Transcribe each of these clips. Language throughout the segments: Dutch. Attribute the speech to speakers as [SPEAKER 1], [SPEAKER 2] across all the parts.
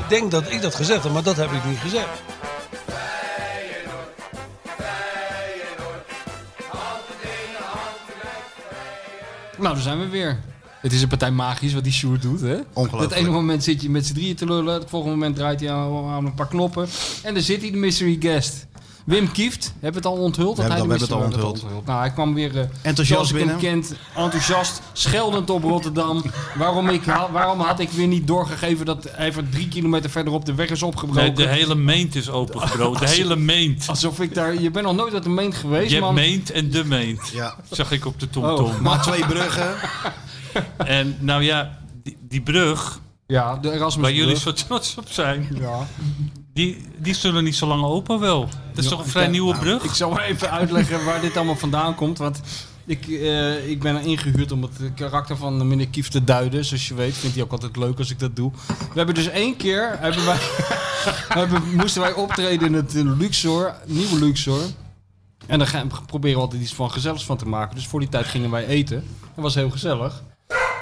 [SPEAKER 1] Ik denk dat ik dat gezegd heb, maar dat heb ik niet gezegd.
[SPEAKER 2] Nou, daar zijn we weer. Het is een partij magisch wat die Sjoerd doet, hè?
[SPEAKER 3] Ongelooflijk.
[SPEAKER 2] Het ene moment zit je met z'n drieën te lullen. Het volgende moment draait hij aan, aan een paar knoppen. En dan zit hij, de mystery guest. Wim Kieft, hebben we het al onthuld?
[SPEAKER 3] We hebben
[SPEAKER 2] hij
[SPEAKER 3] het al-
[SPEAKER 2] de
[SPEAKER 3] we hebben het
[SPEAKER 2] mystery- we
[SPEAKER 3] al
[SPEAKER 2] hebben het Nou, hij kwam weer, eh,
[SPEAKER 3] Enthousiast
[SPEAKER 2] zoals ik
[SPEAKER 3] binnen.
[SPEAKER 2] hem kent, enthousiast, scheldend op Rotterdam. waarom, ik, ha- waarom had ik weer niet doorgegeven dat hij van drie kilometer verderop de weg is opgebroken?
[SPEAKER 4] Nee, de hele meent is opengebroken. De hele meent.
[SPEAKER 2] Alsof ik daar... Je bent nog nooit uit de meent geweest,
[SPEAKER 4] Je hebt
[SPEAKER 2] man.
[SPEAKER 4] meent en de meent.
[SPEAKER 3] Ja.
[SPEAKER 4] Zag ik op de TomTom.
[SPEAKER 2] Oh.
[SPEAKER 3] Maar twee bruggen.
[SPEAKER 4] En nou ja, die, die brug,
[SPEAKER 2] Ja, de Erasmus.
[SPEAKER 4] waar jullie zo trots op zijn,
[SPEAKER 2] Ja.
[SPEAKER 4] die, die zullen niet zo lang open wel. Dat is
[SPEAKER 2] Ja,
[SPEAKER 4] toch een
[SPEAKER 2] ik
[SPEAKER 4] vrij
[SPEAKER 2] denk- nou,
[SPEAKER 4] nieuwe brug?
[SPEAKER 2] Ik zal maar even uitleggen waar dit allemaal vandaan komt. Want ik, eh, ik ben ingehuurd om het karakter van meneer Kief te duiden. Zoals je weet vindt hij ook altijd leuk als ik dat doe. We hebben dus één keer... Hebben wij, hebben, moesten wij optreden in het Luxor. Nieuwe Luxor. En daar gaan, proberen we altijd iets van gezelligs van te maken. Dus voor die tijd gingen wij eten. Dat was heel gezellig.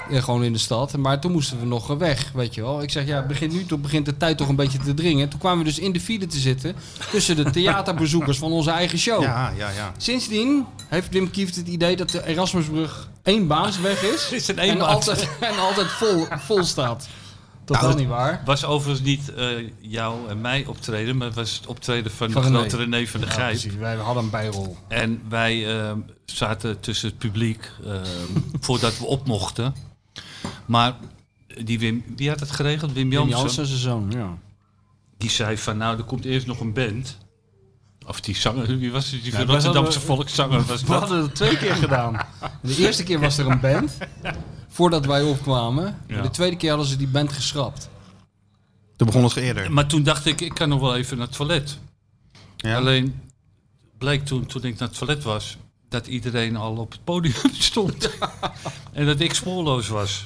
[SPEAKER 2] Ja, gewoon in de stad. Maar toen moesten we nog weg, weet je wel. Ik zeg, ja, begint nu toch, begint de tijd toch een beetje te dringen. Toen kwamen we dus in de file te zitten tussen de theaterbezoekers van onze eigen show.
[SPEAKER 3] Ja, ja, ja.
[SPEAKER 2] Sindsdien heeft Wim Kieft het idee dat de Erasmusbrug één baans weg is.
[SPEAKER 4] Is een
[SPEAKER 2] en,
[SPEAKER 4] eenmaals.
[SPEAKER 2] altijd, en altijd vol, vol staat. Dat is
[SPEAKER 3] Nou,
[SPEAKER 2] wel
[SPEAKER 3] dat-
[SPEAKER 2] niet waar.
[SPEAKER 4] was overigens niet eh, jou en mij optreden, maar het was het optreden van,
[SPEAKER 2] Van
[SPEAKER 4] de
[SPEAKER 2] René.
[SPEAKER 4] grote René van de
[SPEAKER 2] Ja,
[SPEAKER 4] Gijp.
[SPEAKER 2] precies. Wij hadden een bijrol.
[SPEAKER 4] En wij eh, zaten tussen het publiek eh, voordat we op mochten. Maar die Wim, wie had het geregeld? Wim
[SPEAKER 2] Wim
[SPEAKER 4] Janssen.
[SPEAKER 2] Janssen, zijn zoon, ja.
[SPEAKER 4] Die zei van nou, er komt eerst nog een band. Of die zanger, wie was het? Die
[SPEAKER 2] wij
[SPEAKER 4] Rotterdamse
[SPEAKER 2] hadden-
[SPEAKER 4] volkszanger was
[SPEAKER 2] We
[SPEAKER 4] dat.
[SPEAKER 2] hadden het twee keer gedaan. De eerste keer was er een band, voordat wij opkwamen.
[SPEAKER 4] Ja.
[SPEAKER 2] De tweede keer hadden ze die band geschrapt.
[SPEAKER 3] Toen begon het eerder.
[SPEAKER 4] Maar toen dacht ik, ik kan nog wel even naar het toilet. Alleen bleek toen, toen ik naar het toilet was, dat iedereen al op het podium stond. en dat ik spoorloos was.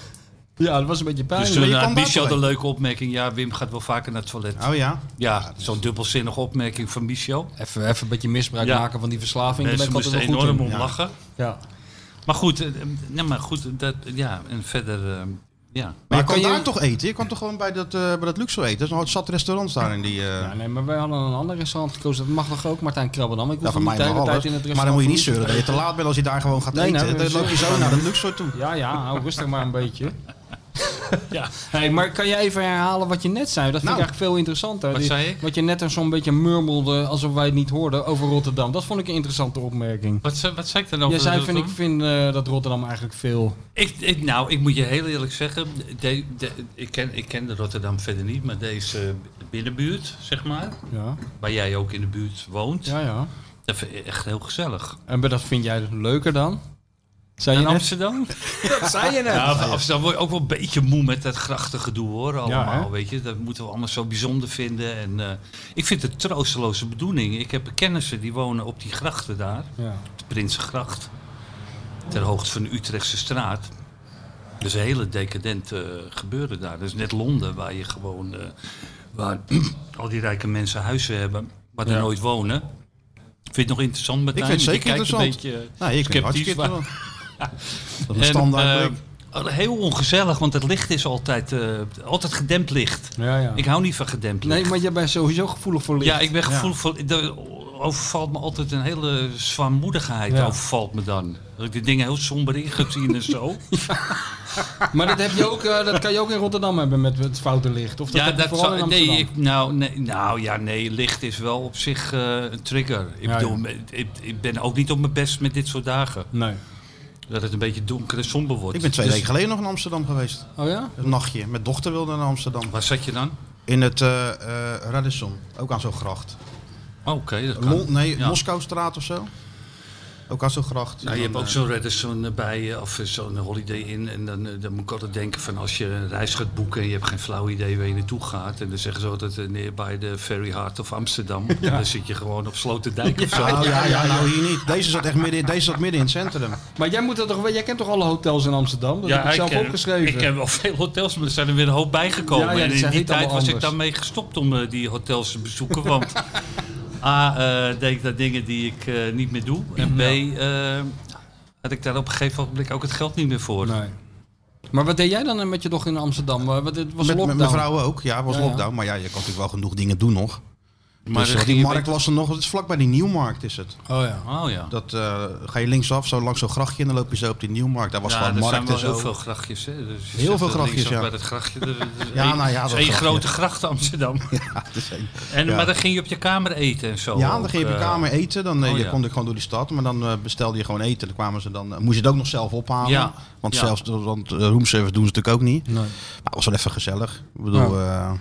[SPEAKER 2] Ja, dat was een beetje pijn.
[SPEAKER 4] Dus
[SPEAKER 3] maar
[SPEAKER 4] toen
[SPEAKER 3] je
[SPEAKER 4] had
[SPEAKER 3] kwam
[SPEAKER 4] Michel de
[SPEAKER 3] buiten.
[SPEAKER 4] leuke opmerking, ja Wim gaat wel vaker naar het toilet.
[SPEAKER 3] Oh ja.
[SPEAKER 4] Ja, zo'n dubbelzinnige opmerking van Michel.
[SPEAKER 2] Even, even een beetje misbruik
[SPEAKER 4] Ja.
[SPEAKER 2] maken van die verslaving. Daar ben
[SPEAKER 4] Mensen
[SPEAKER 2] ik altijd
[SPEAKER 4] moesten
[SPEAKER 2] wel goed
[SPEAKER 4] enorm
[SPEAKER 2] in.
[SPEAKER 4] om
[SPEAKER 3] Ja.
[SPEAKER 4] lachen.
[SPEAKER 2] Ja.
[SPEAKER 4] Maar goed, eh, eh, nee, maar goed dat, ja, en verder, eh, ja.
[SPEAKER 3] Maar je
[SPEAKER 2] kan
[SPEAKER 3] kan
[SPEAKER 2] je-
[SPEAKER 3] daar toch eten? Je kan toch gewoon bij dat, eh bij dat Luxor eten? Er is nog een zat restaurant daar in die... eh,
[SPEAKER 2] Ja, nee, maar wij hadden een ander restaurant gekozen. Dat mag nog ook, Martijn Krabbendam. Ik
[SPEAKER 3] Ja,
[SPEAKER 2] hoef
[SPEAKER 3] van
[SPEAKER 2] niet de
[SPEAKER 3] mij mag
[SPEAKER 2] hele tijd
[SPEAKER 3] alles.
[SPEAKER 2] in het restaurant.
[SPEAKER 3] Maar dan moet je niet
[SPEAKER 2] te
[SPEAKER 3] zeuren dat je te laat bent als je daar gewoon gaat
[SPEAKER 2] Nee,
[SPEAKER 3] eten.
[SPEAKER 2] nee,
[SPEAKER 3] dan loop je zo naar de Luxor toe.
[SPEAKER 2] doen. Ja, ja, hou rustig maar een beetje.
[SPEAKER 4] Ja.
[SPEAKER 2] Hey, maar kan jij even herhalen wat je net zei? Dat vind
[SPEAKER 3] Nou.
[SPEAKER 2] ik eigenlijk veel interessanter.
[SPEAKER 4] Wat
[SPEAKER 2] Die-
[SPEAKER 4] zei ik?
[SPEAKER 2] Wat je net er zo'n beetje murmelde, alsof wij het niet hoorden, over Rotterdam. Dat vond ik een interessante opmerking.
[SPEAKER 4] Wat, ze- wat zei ik dan over
[SPEAKER 2] Jij zei,
[SPEAKER 4] dat
[SPEAKER 2] vind ik
[SPEAKER 4] dan?
[SPEAKER 2] vind eh, dat Rotterdam eigenlijk veel.
[SPEAKER 4] Ik, ik- nou, ik moet je heel eerlijk zeggen, de, de, ik, ken, ik ken de Rotterdam verder niet, maar deze binnenbuurt, zeg maar,
[SPEAKER 2] Ja,
[SPEAKER 4] waar jij ook in de buurt woont,
[SPEAKER 2] ja, ja.
[SPEAKER 4] dat vind ik echt heel gezellig.
[SPEAKER 2] En dat vind jij dus leuker dan? Zei je
[SPEAKER 4] In
[SPEAKER 2] net?
[SPEAKER 4] Amsterdam?
[SPEAKER 2] Dat zei je net.
[SPEAKER 4] Ja, van Amsterdam word je ook wel een beetje moe met dat grachtige gedoe hoor, allemaal,
[SPEAKER 2] hè?
[SPEAKER 4] weet je. Dat moeten we allemaal zo bijzonder vinden. En, eh, ik vind het troosteloze bedoeling. Ik heb kennissen die wonen op die grachten daar.
[SPEAKER 2] Ja.
[SPEAKER 4] de Prinsengracht. Ter hoogte van de Utrechtse straat. Dat is een hele decadent eh, gebeuren daar. Dat is net Londen, waar je gewoon. eh, waar al die rijke mensen huizen hebben, maar er nooit wonen. Vind je het nog interessant, Martijn?
[SPEAKER 3] Ik vind het
[SPEAKER 4] Want je
[SPEAKER 3] zeker
[SPEAKER 4] kijkt Een beetje,
[SPEAKER 3] Nou, je kunt
[SPEAKER 4] sceptisch,
[SPEAKER 3] hartstikke
[SPEAKER 4] maar-
[SPEAKER 3] doen. Dat is een
[SPEAKER 4] en,
[SPEAKER 3] standaard.
[SPEAKER 4] eh, Heel ongezellig, want het licht is altijd, eh, altijd gedempt licht.
[SPEAKER 2] Ja, ja.
[SPEAKER 4] Ik hou niet van gedempt licht.
[SPEAKER 2] Nee, maar jij bent sowieso gevoelig voor licht.
[SPEAKER 4] Ja, ik ben gevoelig voor. Er overvalt me altijd een hele zwaarmoedigheid.
[SPEAKER 2] Ja.
[SPEAKER 4] Overvalt me dan. Dat ik die dingen heel somber ingezien en zo.
[SPEAKER 2] Maar dat, heb je ook, eh, dat kan je ook in Rotterdam hebben met het foute licht. Of dat
[SPEAKER 4] ja,
[SPEAKER 2] heb je
[SPEAKER 4] dat
[SPEAKER 2] vooral in
[SPEAKER 4] zou. Nee,
[SPEAKER 2] Amsterdam.
[SPEAKER 4] ik, nou, nee, nou ja, nee. Licht is wel op zich eh, een trigger. Ik
[SPEAKER 2] Ja,
[SPEAKER 4] bedoel, Ik, ik ben ook niet op mijn best met dit soort dagen.
[SPEAKER 2] Nee.
[SPEAKER 4] Dat het een beetje donker en somber wordt.
[SPEAKER 3] Ik ben twee
[SPEAKER 4] Dus-
[SPEAKER 3] weken geleden nog in Amsterdam geweest.
[SPEAKER 2] Oh ja?
[SPEAKER 3] Een nachtje. Mijn dochter wilde naar Amsterdam.
[SPEAKER 4] Waar zat je dan?
[SPEAKER 3] In het eh eh, Radisson. Ook aan zo'n gracht.
[SPEAKER 4] Oh, Oké, dat kan.
[SPEAKER 3] Lon- nee,
[SPEAKER 4] Ja.
[SPEAKER 3] Moskoustraat of zo. Ook aan zo'n gracht.
[SPEAKER 4] Nou,
[SPEAKER 3] En
[SPEAKER 4] je hebt
[SPEAKER 3] dan,
[SPEAKER 4] ook
[SPEAKER 3] eh,
[SPEAKER 4] zo'n Radisson erbij, eh, of zo'n Holiday Inn. En dan, eh, dan moet ik altijd denken van als je een reis gaat boeken en je hebt geen flauw idee waar je naartoe gaat. En dan zeggen ze altijd eh, neer bij de Ferry Heart of Amsterdam. En dan zit je gewoon op Sloterdijk of zo.
[SPEAKER 3] Nou ja, ja, nou hier niet. Deze zat echt midden, in- deze zat midden in het centrum.
[SPEAKER 2] Maar jij, moet dat toch, wel- jij kent toch alle hotels in Amsterdam? Dat heb ik zelf
[SPEAKER 4] ken-
[SPEAKER 2] opgeschreven.
[SPEAKER 4] Ik heb wel veel hotels, maar er zijn er weer een hoop bijgekomen.
[SPEAKER 2] Ja, ja, die
[SPEAKER 4] en in
[SPEAKER 2] zijn
[SPEAKER 4] die
[SPEAKER 2] niet
[SPEAKER 4] tijd was
[SPEAKER 2] allemaal
[SPEAKER 4] ik
[SPEAKER 2] anders.
[SPEAKER 4] daarmee gestopt om eh, die hotels te bezoeken. Want A, eh, deed ik daar dingen die ik eh, niet meer doe. En B, eh, had ik daar op een gegeven moment ook het geld niet meer voor.
[SPEAKER 2] Nee. Maar wat deed jij dan met je dochter in Amsterdam? Wa- Wat, het was
[SPEAKER 3] Met, met
[SPEAKER 2] lockdown.
[SPEAKER 3] mijn vrouw ook. Ja, het was
[SPEAKER 2] Ja, ja.
[SPEAKER 3] lockdown. Maar ja, je kan natuurlijk wel genoeg dingen doen nog. Maar
[SPEAKER 4] Maar
[SPEAKER 3] dus,
[SPEAKER 4] er
[SPEAKER 3] eh, die
[SPEAKER 4] ging-
[SPEAKER 3] markt was er nog. Het is vlakbij die Nieuwmarkt is het.
[SPEAKER 2] Oh ja.
[SPEAKER 4] Oh ja.
[SPEAKER 3] Dat, eh, ga je linksaf, zo langs zo'n grachtje en dan loop je zo op die Nieuwmarkt. Daar was
[SPEAKER 4] ja,
[SPEAKER 3] gewoon
[SPEAKER 4] er
[SPEAKER 3] markt
[SPEAKER 4] zijn wel
[SPEAKER 3] en
[SPEAKER 4] heel
[SPEAKER 3] zo.
[SPEAKER 4] veel grachtjes. Hè? Dus je
[SPEAKER 3] Heel
[SPEAKER 4] zit
[SPEAKER 3] veel
[SPEAKER 4] er
[SPEAKER 3] grachtjes,
[SPEAKER 4] linksaf
[SPEAKER 3] ja.
[SPEAKER 4] Bij dat grachtje. Er- er is
[SPEAKER 3] Ja,
[SPEAKER 4] één-
[SPEAKER 3] nou ja, dat
[SPEAKER 4] er is één
[SPEAKER 3] grachtje.
[SPEAKER 4] grote gracht Amsterdam.
[SPEAKER 3] Ja, dat is één.
[SPEAKER 4] En,
[SPEAKER 3] Ja.
[SPEAKER 4] Maar dan ging je op je kamer eten en zo.
[SPEAKER 3] Ja, dan
[SPEAKER 4] ook,
[SPEAKER 3] ging je op je
[SPEAKER 4] eh.
[SPEAKER 3] kamer eten. Dan eh,
[SPEAKER 4] oh
[SPEAKER 3] je
[SPEAKER 4] ja.
[SPEAKER 3] kon ik gewoon door die stad. Maar dan eh, bestelde je gewoon eten. Dan kwamen ze dan, eh, moest je het ook nog zelf ophalen.
[SPEAKER 4] Ja.
[SPEAKER 3] Want
[SPEAKER 4] Ja.
[SPEAKER 3] zelfs de- want eh, roomservice doen ze natuurlijk ook niet.
[SPEAKER 2] Nee.
[SPEAKER 3] Maar het was wel even gezellig. Ik bedoel, eh,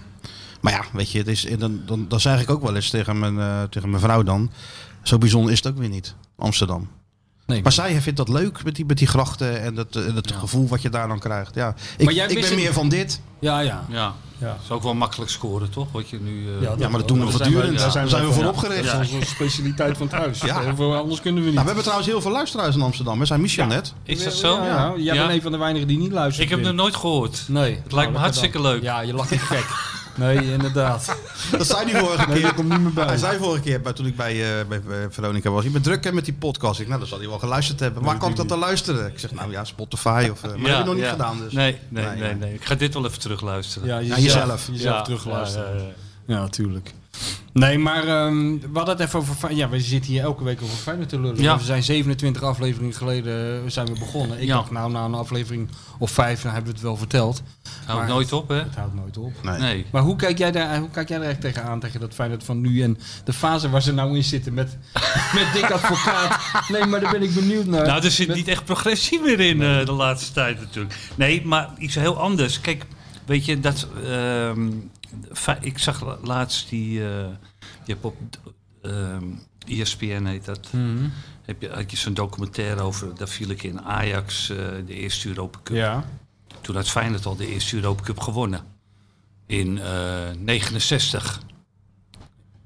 [SPEAKER 3] maar ja, weet je, het is, eh, dan, dan, dan zeg ik ook wel eens tegen mijn, eh, tegen mijn vrouw dan. Zo bijzonder is het ook weer niet, Amsterdam.
[SPEAKER 2] Nee,
[SPEAKER 3] Maar zij vindt dat leuk met die, met die grachten en dat, eh, dat gevoel wat je daar dan krijgt. Ja. Ik,
[SPEAKER 2] jij
[SPEAKER 3] ik
[SPEAKER 2] mist
[SPEAKER 3] ben
[SPEAKER 2] het-
[SPEAKER 3] meer van dit.
[SPEAKER 2] Ja, ja.
[SPEAKER 4] Ja,
[SPEAKER 2] Ja.
[SPEAKER 4] is ook wel makkelijk scoren, toch? Wat je nu... eh,
[SPEAKER 3] Ja, maar dat doen we voortdurend.
[SPEAKER 4] ja.
[SPEAKER 3] Daar zijn we, voor opgericht.
[SPEAKER 4] Ja.
[SPEAKER 2] Dat is onze specialiteit van het huis.
[SPEAKER 3] Ja.
[SPEAKER 2] Eh, voor- Anders kunnen we niet.
[SPEAKER 3] Nou, we hebben trouwens heel veel luisteraars in Amsterdam. We zijn Michel net.
[SPEAKER 4] Is dat zo?
[SPEAKER 2] Ja, ja. jij
[SPEAKER 4] Ja.
[SPEAKER 2] bent een van de weinigen die niet luistert.
[SPEAKER 4] Ik heb nog
[SPEAKER 2] Wim.
[SPEAKER 4] nooit gehoord.
[SPEAKER 2] Nee. Oh,
[SPEAKER 4] Het lijkt me hartstikke leuk.
[SPEAKER 2] Ja, je lacht niet gek. Nee, inderdaad.
[SPEAKER 3] Dat zei hij vorige
[SPEAKER 2] Nee,
[SPEAKER 3] keer.
[SPEAKER 2] daar komt niet meer
[SPEAKER 3] Hij
[SPEAKER 2] bij.
[SPEAKER 3] zei vorige keer bij, toen ik bij, eh, bij, bij Veronica was. Je bent druk hè, met die podcast. Ik, nou, dat zal hij wel geluisterd hebben. Waar kan ik dat dan luisteren? Ik zeg, nou ja, Spotify. Of, eh, maar dat heb je nog niet
[SPEAKER 4] ja.
[SPEAKER 3] gedaan dus.
[SPEAKER 4] Nee, nee, nee,
[SPEAKER 3] Nee,
[SPEAKER 4] nee, Ik ga dit wel even terugluisteren.
[SPEAKER 2] Ja,
[SPEAKER 3] Ja, jezelf.
[SPEAKER 2] Jezelf
[SPEAKER 4] Ja,
[SPEAKER 2] terugluisteren.
[SPEAKER 4] ja, ja, ja.
[SPEAKER 2] Ja, natuurlijk. Nee, maar ehm, we hadden het even over... Fey- Ja, we zitten hier elke week over Feyenoord te lullen.
[SPEAKER 4] Ja.
[SPEAKER 2] We zijn 27 afleveringen geleden eh, zijn we begonnen. Ik
[SPEAKER 4] Ja.
[SPEAKER 2] dacht, nou, na een aflevering of vijf nou, hebben we het wel verteld.
[SPEAKER 4] Houdt
[SPEAKER 2] Maar-
[SPEAKER 4] nooit op, hè?
[SPEAKER 2] Het houdt nooit op.
[SPEAKER 3] Nee.
[SPEAKER 4] Nee.
[SPEAKER 2] Maar hoe kijk jij daar, eh, hoe kijk jij daar echt tegenaan, tegen dat Feyenoord van nu en de fase waar ze nou in zitten met, met dik advocaat? Nee, maar daar ben ik benieuwd naar.
[SPEAKER 4] Nou, er zit niet echt progressie meer in eh, de laatste tijd natuurlijk. Nee, maar iets heel anders. Kijk, weet je, dat... ehm, fa- ik zag la- laatst die... eh, je hebt op ehm ESPN heet dat.
[SPEAKER 3] Mhm.
[SPEAKER 4] Heb je, had je zo'n documentaire over... Daar viel ik in Ajax, eh, de eerste Europa Cup.
[SPEAKER 2] Ja.
[SPEAKER 4] Toen had Feyenoord al de eerste Europa Cup gewonnen. In eh 69.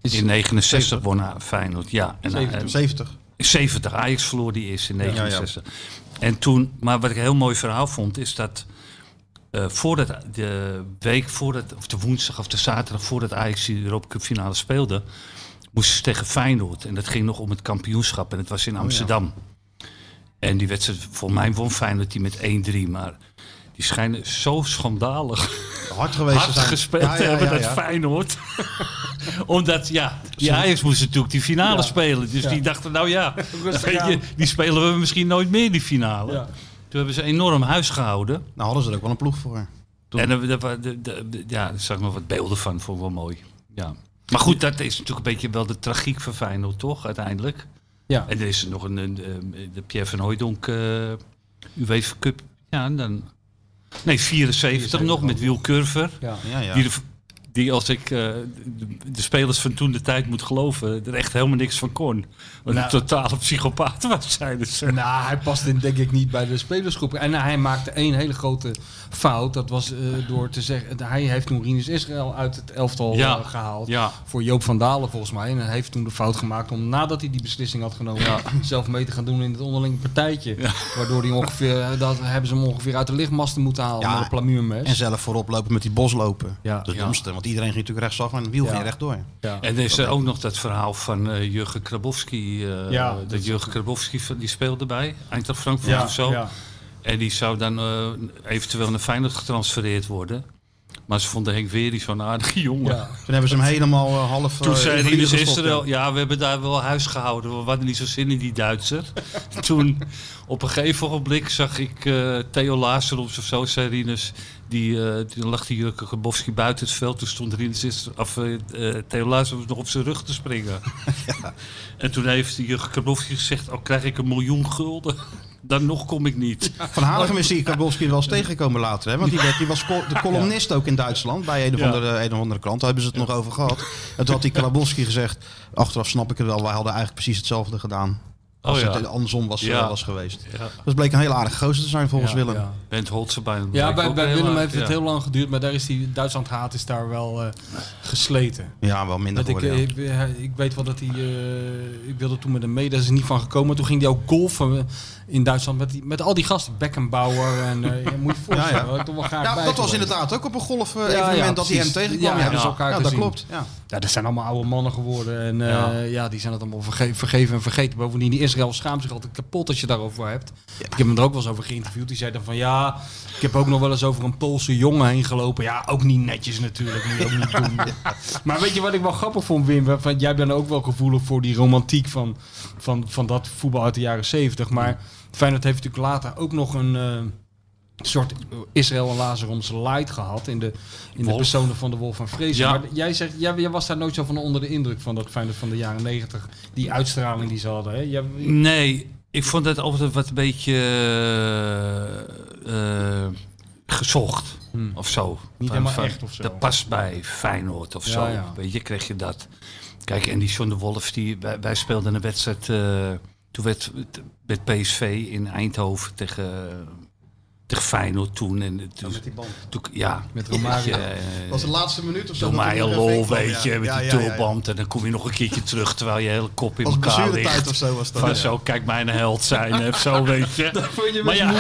[SPEAKER 2] Is-
[SPEAKER 4] In 69 won Feyenoord, ja. En, eh,
[SPEAKER 3] 70.
[SPEAKER 4] 70. Ajax verloor die eerst in 69. En toen, maar wat ik een heel mooi verhaal vond, is dat eh, voordat de week voordat, of de woensdag of de zaterdag voordat Ajax die Europa Cup finale speelde, moesten ze tegen Feyenoord. En dat ging nog om het kampioenschap en het was in Amsterdam. En die wedstrijd, voor mij won Feyenoord die met 1-3, maar die schijnen zo schandalig
[SPEAKER 3] Hard geweest te
[SPEAKER 4] hard
[SPEAKER 3] zijn.
[SPEAKER 4] gespeeld
[SPEAKER 3] Ja, ja,
[SPEAKER 4] te
[SPEAKER 3] ja,
[SPEAKER 4] hebben,
[SPEAKER 3] ja,
[SPEAKER 4] dat
[SPEAKER 3] ja.
[SPEAKER 4] Feyenoord. Omdat, ja, die Ajax moest natuurlijk die finale spelen. Dus die dachten, nou ja, weet je, die spelen we misschien nooit meer die finale.
[SPEAKER 2] Ja.
[SPEAKER 4] Toen hebben ze enorm huis gehouden.
[SPEAKER 3] Nou hadden ze er ook wel een ploeg voor. Toen-
[SPEAKER 4] En dan- dat wa- de- de- de- ja, daar zag ik nog wat beelden van, vond ik wel mooi. Ja. Maar goed, dat is natuurlijk een beetje wel de tragiek van Feyenoord, toch, uiteindelijk.
[SPEAKER 2] Ja.
[SPEAKER 4] En er is nog een, een, ehm, de Pierre van Hooijdonk eh UEFA Cup. Ja, en dan... Nee, 74 nog, met Wiel Curver.
[SPEAKER 2] ja.
[SPEAKER 3] Ja, ja.
[SPEAKER 4] Die, de, die als ik eh, de, de spelers van toen de tijd moet geloven, er echt helemaal niks van kon. Want
[SPEAKER 2] Nou.
[SPEAKER 4] een totale psychopaat was, dus. zeiden ze.
[SPEAKER 2] Nou, hij past in, denk ik niet bij de spelersgroep. En hij maakte één hele grote fout. Dat was eh, door te zeggen... Hij heeft Nourinus Israël uit het elftal
[SPEAKER 4] Ja.
[SPEAKER 2] eh, gehaald.
[SPEAKER 4] Ja.
[SPEAKER 2] Voor Joop van Dalen volgens mij. En hij heeft toen de fout gemaakt om nadat hij die beslissing had genomen... zelf mee te gaan doen in het onderlinge partijtje. Waardoor hij ongeveer... eh, Dat hebben ze hem ongeveer uit de lichtmasten moeten halen.
[SPEAKER 3] Ja.
[SPEAKER 2] Met een plamuurmes.
[SPEAKER 3] En zelf voorop lopen met die boslopen.
[SPEAKER 2] Ja.
[SPEAKER 3] Dat is
[SPEAKER 4] Ja.
[SPEAKER 3] het domste, want iedereen ging natuurlijk rechtsaf en het wiel
[SPEAKER 2] Ja.
[SPEAKER 3] ging rechtdoor.
[SPEAKER 2] Ja.
[SPEAKER 4] En er is er ook nog dat verhaal van eh, Jurgen Krabowski. eh,
[SPEAKER 2] Ja, dat
[SPEAKER 4] dat Jurgen Krabowski van- die speelde bij Eintracht Frankfurt
[SPEAKER 2] Ja,
[SPEAKER 4] of zo.
[SPEAKER 2] ja.
[SPEAKER 4] En die zou dan eh, eventueel naar Feyenoord getransfereerd worden. Maar ze vonden Henk Wery zo'n aardige jongen.
[SPEAKER 2] Ja.
[SPEAKER 3] Toen hebben ze hem helemaal eh, half...
[SPEAKER 4] Toen
[SPEAKER 2] Oh,
[SPEAKER 3] eh,
[SPEAKER 4] zei hij
[SPEAKER 3] invalide
[SPEAKER 4] dus
[SPEAKER 3] gestopt,
[SPEAKER 4] Israël,
[SPEAKER 3] ja.
[SPEAKER 4] ja, we hebben daar wel huis gehouden. We hadden niet zo zin in die Duitser. Toen, op een gegeven ogenblik, zag ik eh, Theo Lazarus of zo, zei Rinus. Die, eh toen lag die Jurgen Grabowski buiten het veld. Toen stond Rinus Israël- of, eh, eh, Theo Lazarus nog op zijn rug te springen. En toen heeft Jurgen Grabowski gezegd, al krijg ik een miljoen gulden. Dan nog kom ik niet.
[SPEAKER 3] Van Hanegem is die Kabowski wel eens tegengekomen later. Hè? Want die, werd, die was col- de columnist ook in Duitsland. Bij een of
[SPEAKER 4] Ja.
[SPEAKER 3] andere, een of andere krant. Daar hebben ze het nog over gehad. En toen had die Kabowski gezegd... Achteraf snap ik het wel. Wij hadden eigenlijk precies hetzelfde gedaan. Als
[SPEAKER 4] Oh ja.
[SPEAKER 3] het andersom was, eh,
[SPEAKER 4] Ja.
[SPEAKER 3] was geweest.
[SPEAKER 4] Ja.
[SPEAKER 3] Dus bleek een hele aardige gozer te zijn volgens
[SPEAKER 2] Ja,
[SPEAKER 3] Willem.
[SPEAKER 2] ja.
[SPEAKER 4] Bent Holtse bij
[SPEAKER 2] Ja,
[SPEAKER 4] blijkt
[SPEAKER 2] bij,
[SPEAKER 4] ook
[SPEAKER 2] bij
[SPEAKER 4] heel
[SPEAKER 2] Willem
[SPEAKER 4] aardig,
[SPEAKER 2] heeft het
[SPEAKER 4] ja.
[SPEAKER 2] heel lang geduurd, maar daar is die Duitsland haat is daar wel eh, gesleten.
[SPEAKER 3] Ja, wel minder
[SPEAKER 2] Dat ik, eh,
[SPEAKER 3] geworden. ja.
[SPEAKER 2] ik, hij- ik weet wel dat hij. eh, ik wilde toen met hem mee, daar is hij niet van gekomen. Toen ging hij ook golfen in Duitsland met, die, met al die gasten. Beckenbauer en. eh, ja, moet je voorstellen,
[SPEAKER 3] Ja, ja.
[SPEAKER 2] daar had ik toch wel graag
[SPEAKER 3] Ja,
[SPEAKER 2] bij
[SPEAKER 3] dat was
[SPEAKER 2] geweest.
[SPEAKER 3] inderdaad ook op een golf eh,
[SPEAKER 2] Ja,
[SPEAKER 3] evenement
[SPEAKER 2] ja,
[SPEAKER 3] dat hij
[SPEAKER 2] precies.
[SPEAKER 3] hem tegenkwam.
[SPEAKER 2] Ja,
[SPEAKER 3] Ja,
[SPEAKER 2] hebben ze elkaar
[SPEAKER 3] Ja, dat
[SPEAKER 2] gezien.
[SPEAKER 3] klopt. Ja.
[SPEAKER 2] Ja, dat zijn allemaal oude mannen geworden. En eh, ja.
[SPEAKER 4] Ja.
[SPEAKER 2] die zijn het allemaal verge- vergeven en vergeten. Bovendien, die Israël schaamt zich altijd kapot als je daarover hebt. Ik heb hem er ook wel eens over geïnterviewd. Die zei dan van ja, ik heb ook nog wel eens over een Poolse jongen heen gelopen. Ja, ook niet netjes natuurlijk. Moet je ook niet doen. Maar weet je wat ik wel grappig vond, Wim? Van, jij bent ook wel gevoelig voor die romantiek van, van, van dat voetbal uit de jaren zeventig. Maar Feyenoord heeft natuurlijk later ook nog een... eh, soort Israël en Lazaroms light gehad in de, in de
[SPEAKER 4] Wolf.
[SPEAKER 2] personen van de Wolf van Vrees.
[SPEAKER 4] Ja.
[SPEAKER 2] Maar jij, zegt, jij, jij was daar nooit zo van onder de indruk van dat Feyenoord van de jaren negentig. Die uitstraling die ze hadden. Hè? Jij-
[SPEAKER 4] Nee, ik vond het altijd wat een beetje eh, eh, gezocht of zo.
[SPEAKER 2] Hmm. Niet helemaal echt of zo.
[SPEAKER 4] Dat past bij Feyenoord of
[SPEAKER 2] Ja,
[SPEAKER 4] zo.
[SPEAKER 2] ja.
[SPEAKER 4] Weet je, kreeg je dat. Kijk, en die John de Wolf, die, wij, wij speelden een wedstrijd. eh, toen werd het met PSV in Eindhoven tegen, tegen Feyenoord toen. En, toen,
[SPEAKER 2] met die band.
[SPEAKER 4] toen- ja,
[SPEAKER 2] Met Romario.
[SPEAKER 4] weet je, eh,
[SPEAKER 3] was de laatste minuut of zo.
[SPEAKER 4] Doe
[SPEAKER 3] dat
[SPEAKER 4] mij
[SPEAKER 3] hij
[SPEAKER 4] een
[SPEAKER 3] er
[SPEAKER 4] lol,
[SPEAKER 3] doorheen kwam,
[SPEAKER 4] weet je,
[SPEAKER 3] ja.
[SPEAKER 4] met
[SPEAKER 3] Ja,
[SPEAKER 4] die
[SPEAKER 3] ja, ja.
[SPEAKER 4] tulband. En dan kom je nog een keertje terug terwijl je hele kop in
[SPEAKER 3] Was
[SPEAKER 4] elkaar
[SPEAKER 3] blessuretijd
[SPEAKER 4] ligt.
[SPEAKER 3] of zo was dat.
[SPEAKER 4] Van
[SPEAKER 3] ja.
[SPEAKER 4] zo, kijk mijn held zijn of zo, weet je. Daar vond je maar ja,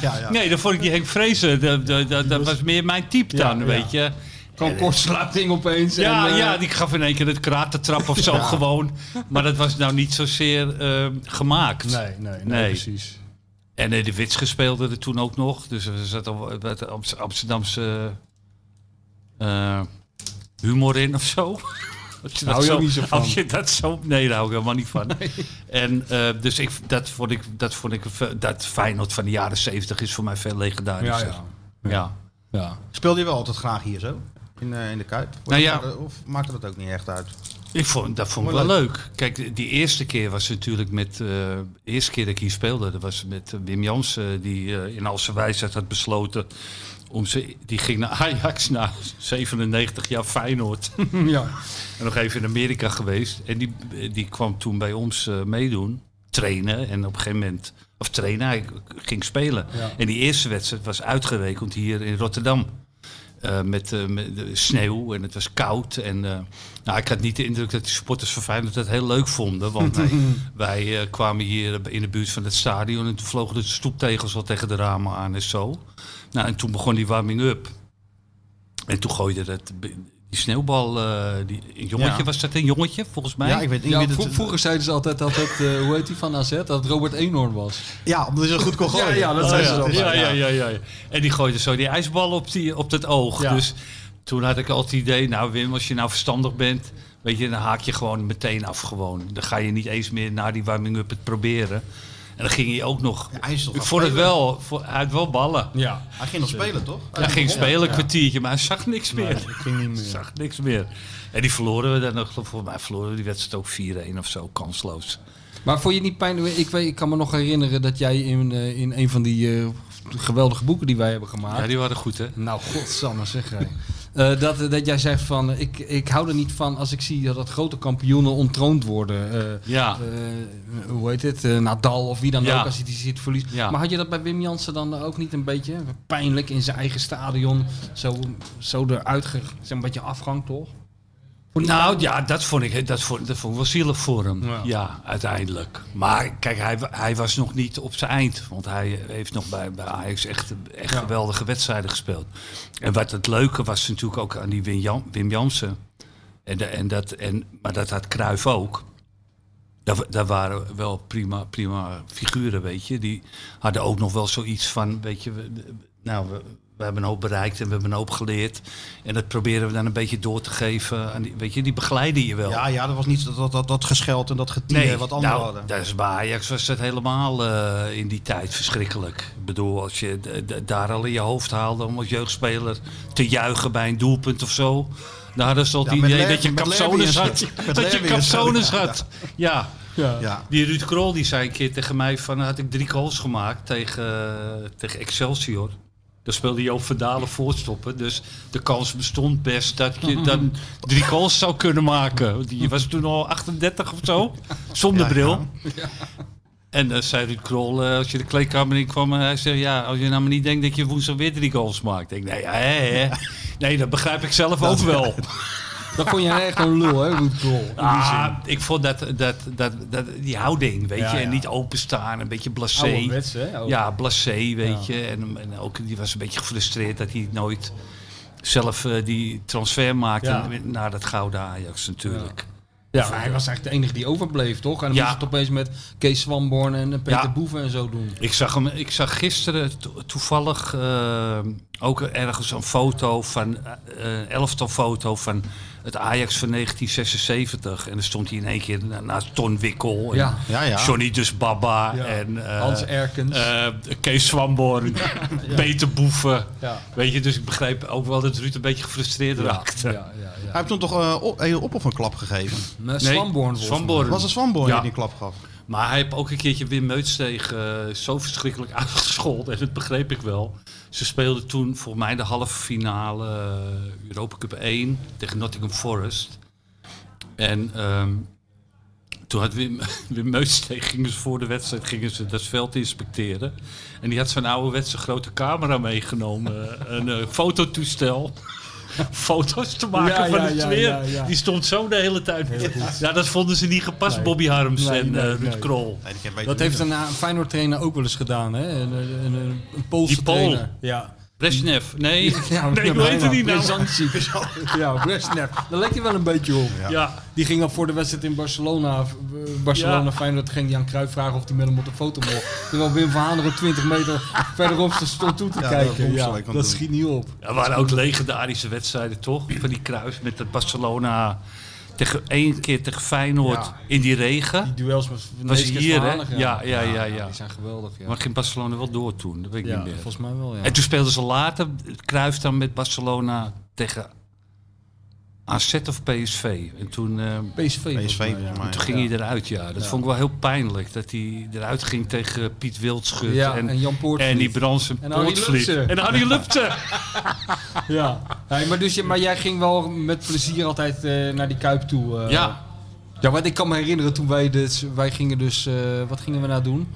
[SPEAKER 3] Ja, ja.
[SPEAKER 4] Nee, dat vond ik die Henk Vrezen. Dat, dat, dat, dat was meer mijn type
[SPEAKER 2] Ja,
[SPEAKER 4] dan,
[SPEAKER 2] ja.
[SPEAKER 4] weet je.
[SPEAKER 2] Gewoon kortsluiting opeens.
[SPEAKER 4] Ja,
[SPEAKER 2] en, eh,
[SPEAKER 4] ja, die gaf in één keer het kratentrap of zo gewoon. Maar dat was nou niet zozeer ehm, gemaakt.
[SPEAKER 2] Nee, nee, nee,
[SPEAKER 4] Nee.
[SPEAKER 2] precies.
[SPEAKER 4] En eh, de Wits speelde er toen ook nog. Dus er zat al wat Amst- Amsterdamse eh, humor in of zo. Als je,
[SPEAKER 2] Daar hou je ook niet zo van.
[SPEAKER 4] als je dat zo... Nee, daar hou ik helemaal niet van. En eh, dus ik, dat vond ik... Dat, vond ik ve- dat Feyenoord van de jaren zeventig is voor mij veel
[SPEAKER 2] Ja,
[SPEAKER 4] legendarischer.
[SPEAKER 2] ja.
[SPEAKER 4] ja.
[SPEAKER 2] ja.
[SPEAKER 3] Speelde je wel altijd graag hier zo? In, eh, in de Kuip? Of-
[SPEAKER 4] Nou ja.
[SPEAKER 3] Of maakte dat ook niet echt uit?
[SPEAKER 4] Ik vond, dat vond ik wel
[SPEAKER 3] Maar
[SPEAKER 4] leuk. Kijk, die eerste keer was natuurlijk met... eh, de eerste keer dat ik hier speelde, dat was met eh, Wim Jansen... die eh, in al zijn wijsheid had besloten... Om ze, die ging naar Ajax na 97 jaar Feyenoord.
[SPEAKER 2] Hm, ja.
[SPEAKER 4] en nog even in Amerika geweest. En die, eh, die kwam toen bij ons eh, meedoen. Trainen en op een gegeven moment... Of trainen, hij ging spelen.
[SPEAKER 2] Ja.
[SPEAKER 4] En die eerste wedstrijd was uitgerekend hier in Rotterdam. Eh, met, eh, met de sneeuw en het was koud. En, eh, nou, ik had niet de indruk dat die supporters van Feyenoord dat heel leuk vonden. Want wij, wij eh, kwamen hier in de buurt van het stadion en toen vlogen de stoeptegels al tegen de ramen aan en zo. Nou, en toen begon die warming-up. En toen gooide dat, die sneeuwbal, eh, die, een jongetje,
[SPEAKER 3] Ja.
[SPEAKER 4] was dat een jongetje volgens mij?
[SPEAKER 3] Ja, ik weet niet.
[SPEAKER 2] Ja,
[SPEAKER 3] wie dat-
[SPEAKER 2] vro- vroeger zeiden ze altijd dat het, eh, hoe heet die van AZ, dat het Robert Eenhoorn was.
[SPEAKER 3] Ja, omdat hij zo goed kon gooien.
[SPEAKER 2] dat
[SPEAKER 4] Oh,
[SPEAKER 2] zijn
[SPEAKER 4] ja.
[SPEAKER 3] altijd,
[SPEAKER 4] Ja, ja,
[SPEAKER 3] ja.
[SPEAKER 4] ja, ja, ja. En die gooide zo die ijsbal op, die, op dat oog.
[SPEAKER 2] Ja.
[SPEAKER 4] Dus toen had ik al het idee, nou Wim, als je nou verstandig bent, weet je, dan haak je gewoon meteen af gewoon. Dan ga je niet eens meer na die warming-up het proberen. En dan ging hij ook nog.
[SPEAKER 3] Ja, hij is toch
[SPEAKER 4] ik
[SPEAKER 3] gaan
[SPEAKER 4] vond het
[SPEAKER 3] spelen?
[SPEAKER 4] wel, voor, hij had wel ballen.
[SPEAKER 2] Ja,
[SPEAKER 3] Hij ging nog spelen, toch?
[SPEAKER 4] Hij ging spelen een kwartiertje, maar hij zag niks meer.
[SPEAKER 2] dat ging niet meer.
[SPEAKER 4] zag niks meer. En die verloren we dan nog, volgens mij verloren we die wedstrijd ook 4-1 of zo, kansloos.
[SPEAKER 2] Maar vond je het niet pijn? Ik, weet, ik kan me nog herinneren dat jij in, eh, in een van die eh, geweldige boeken die wij hebben gemaakt.
[SPEAKER 4] Ja, die waren goed hè?
[SPEAKER 2] Nou, godsamme zeg jij. Eh, dat, dat jij zegt van, eh, ik, ik hou er niet van als ik zie dat, dat grote kampioenen ontroond worden. Eh,
[SPEAKER 4] Ja.
[SPEAKER 2] eh, hoe heet het? Eh, Nadal of wie dan
[SPEAKER 4] Ja.
[SPEAKER 2] ook, als hij die ziet verliest.
[SPEAKER 4] Ja.
[SPEAKER 2] Maar had je dat bij Wim Jansen dan ook niet een beetje eh, pijnlijk in zijn eigen stadion? Zo, zo eruit, ge, zeg, een beetje afgang toch?
[SPEAKER 4] Nou ja, dat vond ik, dat vond, dat vond ik wel zielig voor hem.
[SPEAKER 2] Ja.
[SPEAKER 4] Ja, uiteindelijk. Maar kijk, hij, wa- hij was nog niet op zijn eind. Want hij heeft nog bij, bij Ajax echt, echt geweldige wedstrijden gespeeld. En wat het leuke was natuurlijk ook aan die Wim, Jan, Wim Jansen. En, de- en dat, en, maar dat had Cruijff ook. Daar, wa- daar waren wel prima, prima figuren, weet je. Die hadden ook nog wel zoiets van, weet je... we- de- Nou, we, we hebben een hoop bereikt en we hebben een hoop geleerd. En dat proberen we dan een beetje door te geven. Aan die, weet je, die begeleiden je wel.
[SPEAKER 3] Ja, ja, dat was niet dat, dat, dat, dat gescheld en dat getier wat anderen
[SPEAKER 4] nou,
[SPEAKER 3] hadden.
[SPEAKER 4] dat is bij Ajax was dat helemaal eh, in die tijd verschrikkelijk. Ik bedoel, als je d- d- daar al in je hoofd haalde om als jeugdspeler te juichen bij een doelpunt of zo. Dan hadden ze al het
[SPEAKER 3] Ja, met
[SPEAKER 4] idee
[SPEAKER 3] Ler-
[SPEAKER 4] dat je
[SPEAKER 3] met
[SPEAKER 4] capsones
[SPEAKER 3] Lerby en
[SPEAKER 4] had.
[SPEAKER 3] zo. Met
[SPEAKER 4] Dat je
[SPEAKER 3] Lerby en zo,
[SPEAKER 4] capsones
[SPEAKER 3] ja.
[SPEAKER 4] had. Ja.
[SPEAKER 3] Ja.
[SPEAKER 4] Die Ruud Krol die zei een keer tegen mij van had ik drie goals gemaakt tegen, eh, tegen Excelsior. Daar speelde Joop Verdalen voortstoppen. Dus de kans bestond best dat je dan drie goals zou kunnen maken. Die was toen al 38 of zo, zonder
[SPEAKER 3] Ja, ja.
[SPEAKER 4] bril. En eh, zei Ruud Krol, eh, als je de kleedkamer in kwam, eh, hij zei, ja, als je nou maar niet denkt dat je woensdag weer drie goals maakt. Ik denk, nee, hè, hè. nee, dat begrijp ik zelf ook wel.
[SPEAKER 2] Dat vond jij echt een lul, hè, Ruud Krol?
[SPEAKER 4] Ah, ik vond dat, dat, dat, dat, die houding, weet
[SPEAKER 2] Ja,
[SPEAKER 4] je, en
[SPEAKER 2] ja.
[SPEAKER 4] niet openstaan, een beetje blasé.
[SPEAKER 2] Ouderwets, hè? Ook.
[SPEAKER 4] Ja, blasé, weet je. En, en ook, die was een beetje gefrustreerd dat hij nooit zelf eh, die transfer maakte
[SPEAKER 2] Ja.
[SPEAKER 4] naar dat gouden Ajax natuurlijk.
[SPEAKER 2] Ja, maar hij was eigenlijk de enige die overbleef, toch? En dan
[SPEAKER 4] Ja.
[SPEAKER 2] moest het opeens met Kees Swamborn en eh, Peter
[SPEAKER 4] Ja.
[SPEAKER 2] Boeven en zo doen.
[SPEAKER 4] Ik, zag hem, ik zag gisteren to- toevallig eh, ook ergens een foto van, eh, een elftal foto van het Ajax van 1976. En dan stond hij in één keer na- naast Ton Wikkel en
[SPEAKER 2] Ja.
[SPEAKER 3] Ja, ja.
[SPEAKER 4] Johnny dus Baba
[SPEAKER 2] Ja.
[SPEAKER 4] en... eh,
[SPEAKER 2] Hans Erkens.
[SPEAKER 4] eh, Kees Swamborn, Peter Boeven.
[SPEAKER 2] Ja.
[SPEAKER 4] Weet je, dus ik begrijp ook wel dat Ruud een beetje gefrustreerd raakte.
[SPEAKER 2] ja, ja, ja.
[SPEAKER 3] Hij heeft toen toch eh op, heel op of een klap gegeven.
[SPEAKER 2] Maar
[SPEAKER 4] Nee,
[SPEAKER 2] Swamborn volgens mij.
[SPEAKER 4] Swamborn.
[SPEAKER 3] Was het Swanboy
[SPEAKER 4] Ja.
[SPEAKER 3] die die klap gaf?
[SPEAKER 4] Maar hij heeft ook een keertje Wim Meuts tegen eh, zo verschrikkelijk uitgescholden. En dat begreep ik wel. Ze speelden toen voor mij de halve finale eh, Europa Cup 1 tegen Nottingham Forest. En ehm, toen had Wim, Wim Meuts tegen, gingen ze voor de wedstrijd gingen ze dat veld inspecteren. En die had zijn ouderwetse grote camera meegenomen. een eh, fototoestel. Foto's te maken
[SPEAKER 2] Ja,
[SPEAKER 4] van
[SPEAKER 2] ja,
[SPEAKER 4] het
[SPEAKER 2] ja,
[SPEAKER 4] sfeer.
[SPEAKER 2] ja, ja.
[SPEAKER 4] Die stond zo de hele tijd. Ja, dat vonden ze niet gepast,
[SPEAKER 2] Nee.
[SPEAKER 4] Bobby Harms
[SPEAKER 2] Nee,
[SPEAKER 4] en
[SPEAKER 2] nee,
[SPEAKER 4] eh, Ruud
[SPEAKER 2] nee.
[SPEAKER 4] Krol.
[SPEAKER 3] Nee, die kan beter
[SPEAKER 2] Dat
[SPEAKER 3] niet
[SPEAKER 2] heeft een eh, Feyenoord-trainer ook wel eens gedaan, hè? Een, een, een, een Poolse
[SPEAKER 4] Die Pool.
[SPEAKER 2] trainer. Ja.
[SPEAKER 4] Brezhnev, nee.
[SPEAKER 2] Ja,
[SPEAKER 4] nee, hoe heet die nou?
[SPEAKER 2] Brezantie. Ja, Brezhnev. Daar leek hij wel een beetje op.
[SPEAKER 4] Ja,
[SPEAKER 2] Die ging al voor de wedstrijd in Barcelona. v- Barcelona
[SPEAKER 4] Ja.
[SPEAKER 2] Feyenoord ging Jan Cruijff vragen of hij met hem op de foto mocht. Terwijl Wim van Haneren 20 meter verderop stond toe te
[SPEAKER 3] Ja, dat
[SPEAKER 2] kijken.
[SPEAKER 3] moest
[SPEAKER 2] Ja,
[SPEAKER 3] ik aan
[SPEAKER 2] dat
[SPEAKER 3] doen.
[SPEAKER 2] schiet niet op.
[SPEAKER 4] dat waren ook legendarische wedstrijden, toch? Van die kruis met dat Barcelona tegen één keer tegen Feyenoord
[SPEAKER 2] Ja.
[SPEAKER 4] in die regen.
[SPEAKER 2] Die duels met
[SPEAKER 4] Was
[SPEAKER 2] Neeskens
[SPEAKER 4] hier,
[SPEAKER 2] van
[SPEAKER 4] hè?
[SPEAKER 2] Hanegem.
[SPEAKER 4] Ja, ja, ja, ja.
[SPEAKER 2] Die zijn geweldig, ja.
[SPEAKER 4] Maar ging Barcelona wel door toen, dat weet ik
[SPEAKER 2] ja,
[SPEAKER 4] niet meer.
[SPEAKER 2] volgens mij wel, ja.
[SPEAKER 4] En toen speelden ze later, Kruis dan met Barcelona tegen AZ of PSV. En toen, eh,
[SPEAKER 2] PSV. volgens
[SPEAKER 3] PSV
[SPEAKER 2] mij,
[SPEAKER 3] volgens
[SPEAKER 2] ja.
[SPEAKER 3] mij.
[SPEAKER 4] toen ging hij eruit, ja. Dat vond ik wel heel pijnlijk, dat hij eruit ging tegen Piet Wildschut.
[SPEAKER 2] Ja,
[SPEAKER 4] en,
[SPEAKER 2] en Jan Poortvliet.
[SPEAKER 4] En die Bransen
[SPEAKER 2] En Harry
[SPEAKER 4] Poortvliet.
[SPEAKER 2] Lubse.
[SPEAKER 4] En Harry Lubse.
[SPEAKER 2] Ja, Hey, maar, dus, je- maar jij ging wel met plezier altijd eh, naar die Kuip toe. eh.
[SPEAKER 4] Ja,
[SPEAKER 2] Ja, want ik kan me herinneren toen wij dus, wij gingen dus, eh, wat gingen we nou doen?